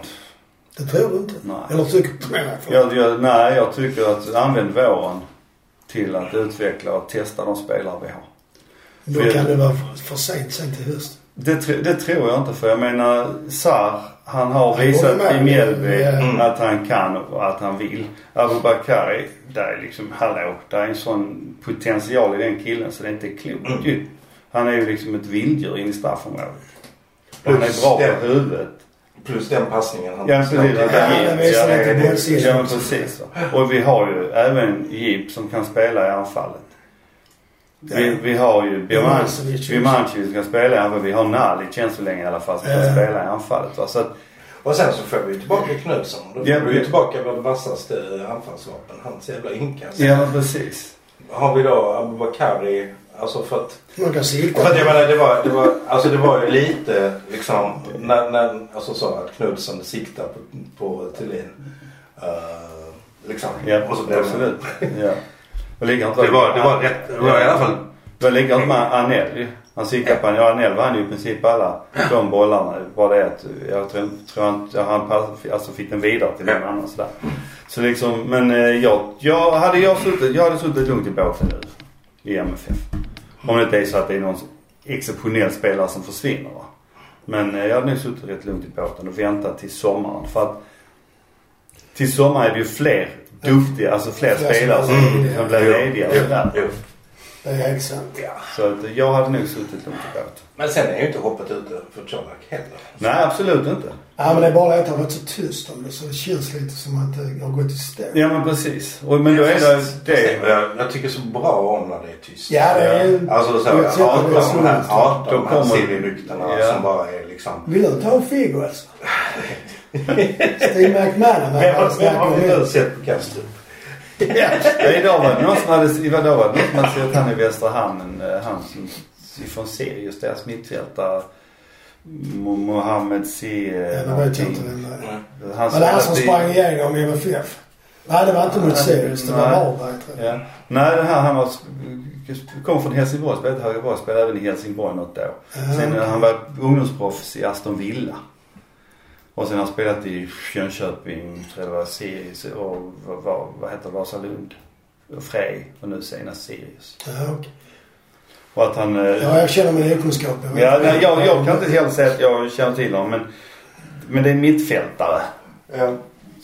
[SPEAKER 1] Det tror du inte?
[SPEAKER 3] Nej.
[SPEAKER 1] Eller tycker du det?
[SPEAKER 3] Jag, jag, nej, jag tycker att använd våren till att utveckla och testa de spelare vi har.
[SPEAKER 1] Då kan det vara för- för sent sen till höst.
[SPEAKER 3] Det, tr- det tror jag inte för jag menar Sar, han har
[SPEAKER 1] håller
[SPEAKER 3] visat
[SPEAKER 1] med.
[SPEAKER 3] i Mjällby
[SPEAKER 1] Mm.
[SPEAKER 3] att han kan och att han vill. Abubakari, där är liksom, hallå, det är en sån potential i den killen så det är inte klokt ju. Han är ju liksom ett vilddjur in i straffområdet. Han är bra på huvudet.
[SPEAKER 2] Plus den passningen han
[SPEAKER 3] Ja, precis.
[SPEAKER 2] släppte.
[SPEAKER 3] Ja,
[SPEAKER 1] det visar lite bollsinne
[SPEAKER 3] Ja, men
[SPEAKER 1] också.
[SPEAKER 3] precis. va. Och vi har ju även Jip som kan spela i anfallet. Vi, vi har ju
[SPEAKER 1] Birmancevic.
[SPEAKER 3] Birmancevic som kan spela i anfallet. Vi har Nalic än så länge i alla fall som kan
[SPEAKER 1] Ja.
[SPEAKER 3] spela i anfallet. Va? Så att,
[SPEAKER 2] Och sen så får vi tillbaka Knutsson. Då får
[SPEAKER 3] Ja,
[SPEAKER 2] vi
[SPEAKER 3] ja.
[SPEAKER 2] tillbaka vårt vassaste anfallsvapen. Hans jävla inkast.
[SPEAKER 3] ja, men precis.
[SPEAKER 2] Har vi då Abubakari. Alltså för att...
[SPEAKER 1] Man kan sikta.
[SPEAKER 2] För att jag menar det var, det var, alltså det var ju lite liksom. När, när, alltså så att Knutsson siktar på, på Thulin. Eh, liksom.
[SPEAKER 3] Ja,
[SPEAKER 2] Och så blev det-
[SPEAKER 3] absolut. Ja. Och likadant
[SPEAKER 2] Det var, det var rätt. Det var i alla fall.
[SPEAKER 3] Det var likadant med Anel ju. Han siktade på ja, Anel vann ju i princip alla de bollarna. Bara det att jag tror, tror inte ja, han pass, alltså fick den vidare till någon annan sådär. Så liksom, men eh, jag, jag, hade jag, suttit, jag hade suttit lugnt i båten nu i MFF. Om det inte är så att det är någon exceptionell spelare som försvinner va. Men eh, jag hade nog suttit rätt lugnt i båten och väntat till sommaren. För att till sommaren är det ju fler duktiga, alltså fler
[SPEAKER 1] Fler som
[SPEAKER 3] spelare Mm. som,
[SPEAKER 1] blir lediga.
[SPEAKER 3] som blir lediga och sådär.
[SPEAKER 2] Jo.
[SPEAKER 1] Det är helt sant.
[SPEAKER 2] Ja.
[SPEAKER 3] Så att jag hade nog suttit lugnt i båten.
[SPEAKER 2] Men sen är ju inte hoppet ute för Colak heller.
[SPEAKER 3] Nej, absolut inte.
[SPEAKER 1] Ja, men det är bara det att det har varit så tyst om det så det känns lite som att det har gått i stå.
[SPEAKER 3] Ja, men precis. Och, men då är
[SPEAKER 2] Fast-
[SPEAKER 3] det
[SPEAKER 2] fast
[SPEAKER 3] det.
[SPEAKER 2] Jag, jag tycker så bra om när det är tyst.
[SPEAKER 1] Ja, det är ju...
[SPEAKER 2] Alltså så
[SPEAKER 1] Jag
[SPEAKER 2] här,
[SPEAKER 1] tycker det är
[SPEAKER 2] arton de här,
[SPEAKER 1] så-
[SPEAKER 2] arton de
[SPEAKER 3] Då
[SPEAKER 2] här
[SPEAKER 3] kommer-
[SPEAKER 2] sillyryktarna
[SPEAKER 3] Ja.
[SPEAKER 2] som bara är liksom.
[SPEAKER 1] Vill du ta en Figo alltså? Steve McManaman.
[SPEAKER 2] Vem
[SPEAKER 1] han
[SPEAKER 2] har- vem
[SPEAKER 1] snackar
[SPEAKER 2] har
[SPEAKER 1] om
[SPEAKER 2] vi
[SPEAKER 1] det.
[SPEAKER 2] nu sett på Kastrup?
[SPEAKER 3] Ja, idag var det någon som hade, idag var det någon som hade sett han i Västra Hamnen, eh, han som ifrån Sirius, deras mittfältare. Mo- Mohammed C. eh,
[SPEAKER 1] Ja, det vet jag inte vem det är.
[SPEAKER 3] Han
[SPEAKER 1] Var det han som
[SPEAKER 3] spelade i-
[SPEAKER 1] sprang igenom MFF? Nej, det var inte mot
[SPEAKER 3] Nej,
[SPEAKER 1] Sirius. Det var
[SPEAKER 3] nej.
[SPEAKER 1] Varberg tror jag.
[SPEAKER 3] Ja. Nej, den här han var, kom från Helsingborg, spelade i Helsingborg, spelade även i Helsingborg något år. Sen eh,
[SPEAKER 1] Ja.
[SPEAKER 3] han var ungdomsproffs i Aston Villa. Och sen har han spelat i Jönköping, tror jag det var, Sirius och vad, vad, vad heter det, Vasalund. Och Frej och nu senast Sirius.
[SPEAKER 1] Ja, okej.
[SPEAKER 3] Och att han... eh,
[SPEAKER 1] Ja, jag känner min okunskap. vet
[SPEAKER 3] ja,
[SPEAKER 1] inte.
[SPEAKER 3] nej, jag, jag kan inte heller säga att jag känner till honom men, men det är mittfältare.
[SPEAKER 2] Ja.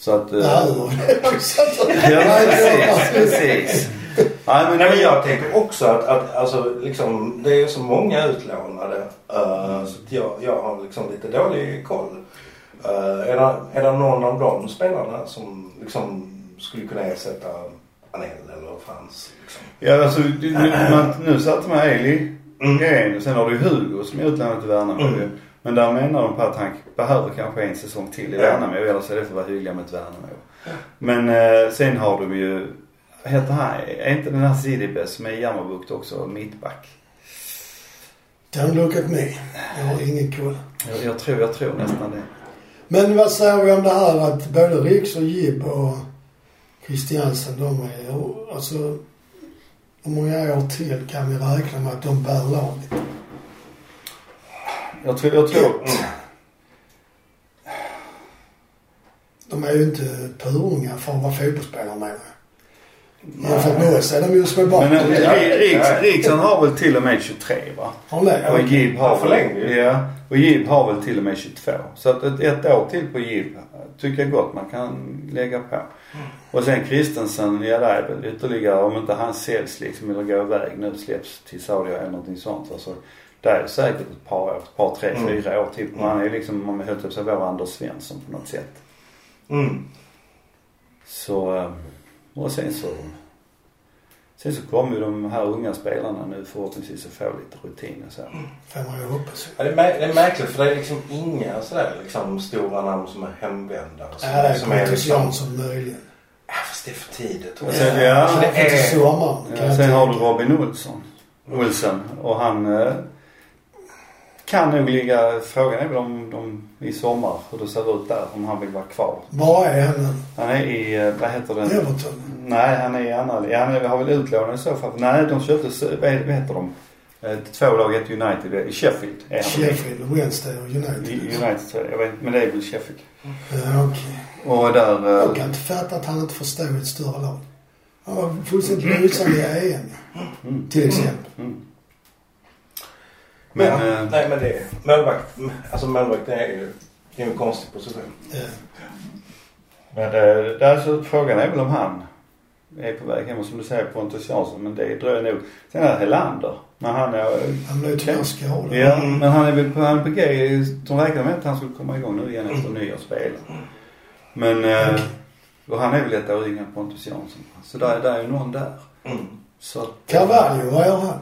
[SPEAKER 3] Så att... eh,
[SPEAKER 1] Nej, det var-
[SPEAKER 3] Ja,
[SPEAKER 1] Nej, det var-
[SPEAKER 3] precis, precis. Nej, men,
[SPEAKER 2] Nej, men jag tänker också att, att alltså, liksom, det är så många utlånade. eh, så att jag, jag har liksom lite dålig koll. Eh, är, det, är det någon av de spelarna som liksom, skulle kunna ersätta Anel eller Frans? Liksom?
[SPEAKER 3] Ja, alltså, du, nu, man, nu satte man Eli mm. och sen har du Hugo som är utlånad till Värnamo
[SPEAKER 2] Mm.
[SPEAKER 3] ju. Men där menar de på att han behöver kanske en säsong till i
[SPEAKER 2] Ja.
[SPEAKER 3] Värnamo eller så är det för att vara hyggliga mot Värnamo. Men eh, sen har de ju, vad heter han, är inte den här Sidibe som är i Jammerbukt också, mittback?
[SPEAKER 1] Don't look at me. Jag har ingen koll.
[SPEAKER 3] Jag, jag tror, jag tror nästan det.
[SPEAKER 1] Men vad säger vi om det här att både Riks och Jib och Christiansen de är, alltså hur många år till kan vi räkna med att de bär laget?
[SPEAKER 3] Jag tror, jag tror.
[SPEAKER 1] De är ju inte purunga för att vara fotbollsspelare menar jag. Jämfört med oss är de ju små barn.
[SPEAKER 3] Men eh,
[SPEAKER 2] Ja.
[SPEAKER 3] Ri- Riks, Riks han har väl till och med 23 va?
[SPEAKER 1] Har ni
[SPEAKER 3] Och
[SPEAKER 1] det?
[SPEAKER 3] Jib
[SPEAKER 2] Han
[SPEAKER 3] har,
[SPEAKER 2] förlängde
[SPEAKER 3] väl,
[SPEAKER 2] ju.
[SPEAKER 3] ja, och Jib har väl till och med 22. Så att ett, ett år till på Jib tycker jag gott man kan lägga på.
[SPEAKER 2] Mm.
[SPEAKER 3] Och sen Christensen, ja det är väl ytterligare, om inte han säljs liksom eller går iväg nu släpps till Saudi eller någonting sånt. Alltså, det är säkert ett par, år, ett par tre,
[SPEAKER 2] Mm.
[SPEAKER 3] fyra år till.
[SPEAKER 2] Mm.
[SPEAKER 3] Man är ju liksom, man höll på sig vår Anders Svensson på något sätt.
[SPEAKER 2] Mm.
[SPEAKER 3] Så, eh, och sen så Sen så kommer ju de här unga spelarna nu förhoppningsvis att få lite rutin och så.
[SPEAKER 1] Får man ju hoppas.
[SPEAKER 2] Ja, det, är mär- det är märkligt för det är liksom inga sådär liksom stora namn som är hemvända. och så-
[SPEAKER 1] Ja, det är
[SPEAKER 2] som är
[SPEAKER 1] Pontus
[SPEAKER 2] liksom...
[SPEAKER 1] Jansson möjligen.
[SPEAKER 2] Ja, fast det är för tidigt.
[SPEAKER 3] Och sen, ja,
[SPEAKER 2] Alltså, det
[SPEAKER 1] Till
[SPEAKER 2] är...
[SPEAKER 1] sommaren kan
[SPEAKER 3] Ja,
[SPEAKER 1] jag
[SPEAKER 3] Eh, sen har du
[SPEAKER 1] tänka.
[SPEAKER 3] Robin Olsson. Olsen. Och han eh, kan nog ligga... Frågan är väl om de i sommar, hur det ser ut där, om han vill vara kvar.
[SPEAKER 1] Var är han nu?
[SPEAKER 3] Han är i, eh, vad heter den?
[SPEAKER 1] Everton?
[SPEAKER 3] Nej, han är i andra. Ja, han är- har väl utlånat i så fall. Nej, de köpte, s- vad vad heter de? Eh, Två lag, ett United, eh, i Sheffield. är han.
[SPEAKER 1] Sheffield, Wednesday och United.
[SPEAKER 3] United, tror jag. jag vet, men det är väl Sheffield.
[SPEAKER 1] Ja, okej.
[SPEAKER 3] Och där... eh,
[SPEAKER 1] Jag kan inte fatta att han inte förstod ett större lag. Han var fullständigt lysande i EM.
[SPEAKER 3] Mm.
[SPEAKER 1] Till exempel.
[SPEAKER 3] Men,
[SPEAKER 2] Men,
[SPEAKER 3] eh,
[SPEAKER 2] nej men det är målvakt. Alltså målvakt det är ju det är ju en konstig position.
[SPEAKER 1] Ja.
[SPEAKER 3] Men det, det är alltså, frågan är väl om han är på väg hem. Och som du säger Pontus Jansson, men det dröjer nog. Sen är det Helander. Men han är...
[SPEAKER 1] Han blev tyvärr skadad.
[SPEAKER 3] Ja, men han är väl på, han är på G. De räknar med att han skulle komma igång nu igen efter nyårsspel. Men... eh, Och han är väl ett år yngre än Pontus Jansson. Så där, där är ju någon där.
[SPEAKER 2] Mm.
[SPEAKER 3] Så att,
[SPEAKER 1] Carvalho, vad gör han?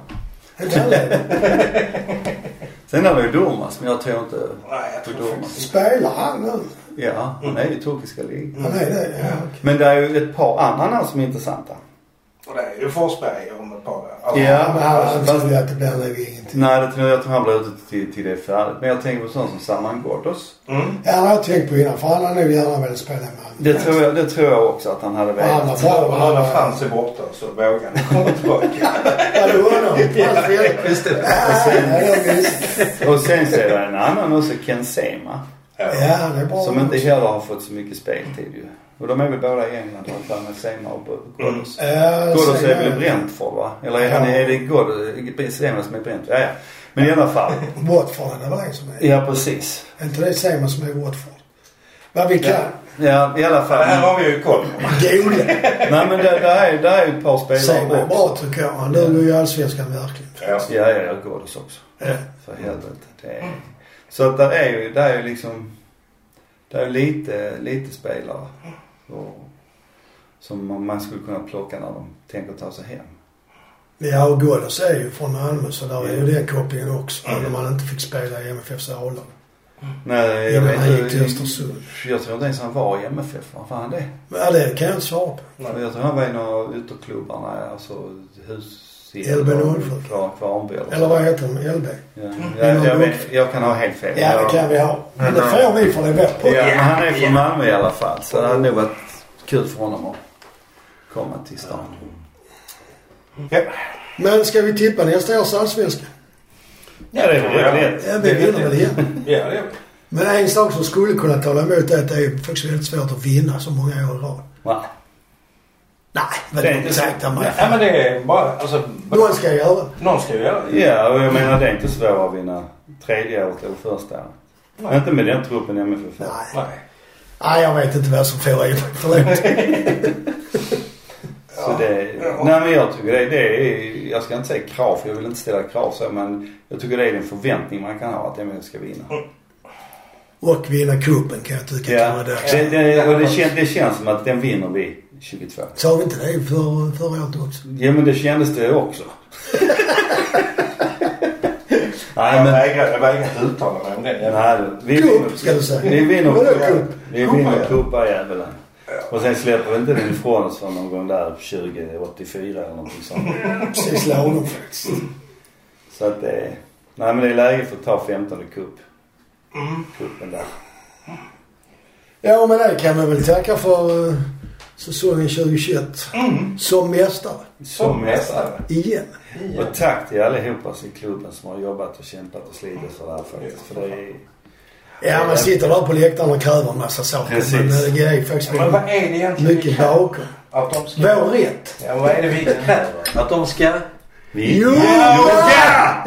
[SPEAKER 1] Är det han det?
[SPEAKER 3] Sen är det ju Durmaz, men jag tror inte...
[SPEAKER 2] Nej, jag tror
[SPEAKER 3] Då-
[SPEAKER 2] faktiskt inte.
[SPEAKER 1] Spelar han nu?
[SPEAKER 3] Ja, han är ju i turkiska ligan.
[SPEAKER 1] Han är det? Ja, okej.
[SPEAKER 3] Men det är ju ett par andra namn som är intressanta.
[SPEAKER 2] Och det är ju Forsberg om ett par år. Alltså,
[SPEAKER 3] Ja.
[SPEAKER 1] Men han han tror ju att det blir nog ingenting.
[SPEAKER 3] Nej, det tror jag att han blir ute till, till det är färdigt. Men jag tänker på sånt som Salman Ghoddos.
[SPEAKER 2] Mm.
[SPEAKER 1] Ja, han har jag tänkt på innan. För han hade nog gärna velat spela i Malmö.
[SPEAKER 3] Det tror jag, det tror jag också att han hade
[SPEAKER 1] Han
[SPEAKER 3] velat.
[SPEAKER 1] var bra.
[SPEAKER 2] Och
[SPEAKER 1] Han
[SPEAKER 2] Alla
[SPEAKER 1] var
[SPEAKER 2] fans är borta så vågar han komma tillbaka.
[SPEAKER 1] Ja, det var honom. Hans fel.
[SPEAKER 2] Visst är det?
[SPEAKER 1] Ja, jag minns.
[SPEAKER 3] Och sen så är det en annan också, Ken Sema.
[SPEAKER 1] Ja, han är bra.
[SPEAKER 3] Som inte heller har fått så mycket speltid ju. Och de är väl båda i England har jag för mig, Sema och Ghoddos.
[SPEAKER 1] Eh, Ja,
[SPEAKER 3] Ghoddos
[SPEAKER 1] så-
[SPEAKER 3] är väl i Brentford va? Eller är, han, är det Ghoddos, Sema som är i Brentford? Ja, ja. Men i alla fall.
[SPEAKER 1] Watford, det var en som är.
[SPEAKER 3] Ja, precis.
[SPEAKER 1] Är inte det samma som är Watford? Vad vi kan.
[SPEAKER 3] Ja, i alla
[SPEAKER 2] Det här
[SPEAKER 3] fall.
[SPEAKER 2] har vi ju koll på.
[SPEAKER 1] Gode.
[SPEAKER 3] Nej men det, det, är, det är ju ett par
[SPEAKER 1] Säg
[SPEAKER 3] spelare
[SPEAKER 1] mig bra tycker jag. Han duger ju i Allsvenskan verkligen.
[SPEAKER 2] Ja.
[SPEAKER 3] Ja, ja, ja, Ghoddos också.
[SPEAKER 1] Ja.
[SPEAKER 3] För helvete. Det är... Så att där är ju, där är ju liksom, där är ju lite, lite spelare. Och, som man- man skulle kunna plocka när de tänker ta sig hem.
[SPEAKER 1] Ja, och Ghoddos är ju från Malmö så där är ju den kopplingen också. Även om han inte fick spela i MFFs A-lag.
[SPEAKER 3] Nej, jag
[SPEAKER 1] Innan han gick
[SPEAKER 3] vet
[SPEAKER 1] till
[SPEAKER 3] inte.
[SPEAKER 1] Östersund.
[SPEAKER 3] Jag tror inte ens han var i MFF. Var fan det?
[SPEAKER 1] Ja, det kan jag inte svara på.
[SPEAKER 3] Men Jag tror han var i en av ytterklubbarna, alltså hus...
[SPEAKER 1] LB 07.
[SPEAKER 3] Kvar- Kvarnby eller
[SPEAKER 1] Eller vad heter de? LB?
[SPEAKER 3] Ja, jag, jag, vet- jag kan ha helt fel.
[SPEAKER 1] Ja, det kan vi ha. Men det får vi för det är bättre.
[SPEAKER 3] Ja, men han är från Malmö i alla fall. Så det hade nog varit kul för honom att komma till stan.
[SPEAKER 1] Men ska vi tippa nästa års allsvenska?
[SPEAKER 3] Ja, det är väl rätt.
[SPEAKER 1] Ja, vi vinner väl igen.
[SPEAKER 2] Ja, det är det.
[SPEAKER 1] Men en sak som skulle kunna tala emot är att det är faktiskt väldigt svårt att vinna så många år i rad.
[SPEAKER 3] Va?
[SPEAKER 1] Nej, vad
[SPEAKER 3] Det
[SPEAKER 1] det
[SPEAKER 3] är
[SPEAKER 1] är
[SPEAKER 3] inte
[SPEAKER 1] inte sagt om
[SPEAKER 2] Ja, men det är bara... Alltså,
[SPEAKER 1] Någon ska göra.
[SPEAKER 2] någon ska ju göra det.
[SPEAKER 3] Ja, och jag menar det är inte svårt att vinna tredje året eller första året.
[SPEAKER 2] Nej.
[SPEAKER 3] Inte med den truppen i MFF.
[SPEAKER 1] Nej.
[SPEAKER 2] Nej.
[SPEAKER 1] Nej, jag vet inte vad som får in mig. Förlåt.
[SPEAKER 3] Så det, nej men jag tycker det, det är, jag ska inte säga krav för jag vill inte ställa krav så men jag tycker det är en förväntning man kan ha att MFF ska vinna.
[SPEAKER 1] Och vinna cupen kan jag tycka att
[SPEAKER 3] Ja.
[SPEAKER 1] det var dags.
[SPEAKER 3] Det, det, och det, kän, det känns som att den vinner vi 22.
[SPEAKER 1] Sa vi inte det för, förra året också?
[SPEAKER 3] Ja men det kändes det också. nej
[SPEAKER 2] Jag
[SPEAKER 3] men,
[SPEAKER 2] vägrar jag vägrar inte uttala mig om det. Jag-
[SPEAKER 3] nej du, vi
[SPEAKER 1] Cup ska du säga.
[SPEAKER 3] Vi vinner
[SPEAKER 1] Vadå
[SPEAKER 3] cupen.
[SPEAKER 1] cup?
[SPEAKER 3] Vi vinner cupajäveln. Och sen släpper vi inte den ifrån oss förrän någon gång där 2084 eller någonting sånt.
[SPEAKER 1] Precis lagom faktiskt.
[SPEAKER 3] Så att det är... Nej men det är läge för att ta 15 cup.
[SPEAKER 2] Mm.
[SPEAKER 3] Cupen där.
[SPEAKER 1] Ja, men det kan man väl tacka för eh, säsongen 2021. Som mästare.
[SPEAKER 3] Som mästare.
[SPEAKER 1] Igen.
[SPEAKER 3] Och tack till allihopa i klubben som har jobbat och kämpat och slitit för det här faktiskt. För det är...
[SPEAKER 1] Ja, man sitter där på läktaren och kräver en massa saker.
[SPEAKER 3] Precis.
[SPEAKER 1] Men eh, det är faktiskt
[SPEAKER 2] Men vad är det egentligen vi
[SPEAKER 1] mycket
[SPEAKER 2] kräver?
[SPEAKER 1] bakom.
[SPEAKER 2] Att de ska...
[SPEAKER 1] Vår rätt.
[SPEAKER 2] Ja, vad är det vi kräver? Att de ska...
[SPEAKER 3] Vi...
[SPEAKER 1] Jo!
[SPEAKER 3] Ja!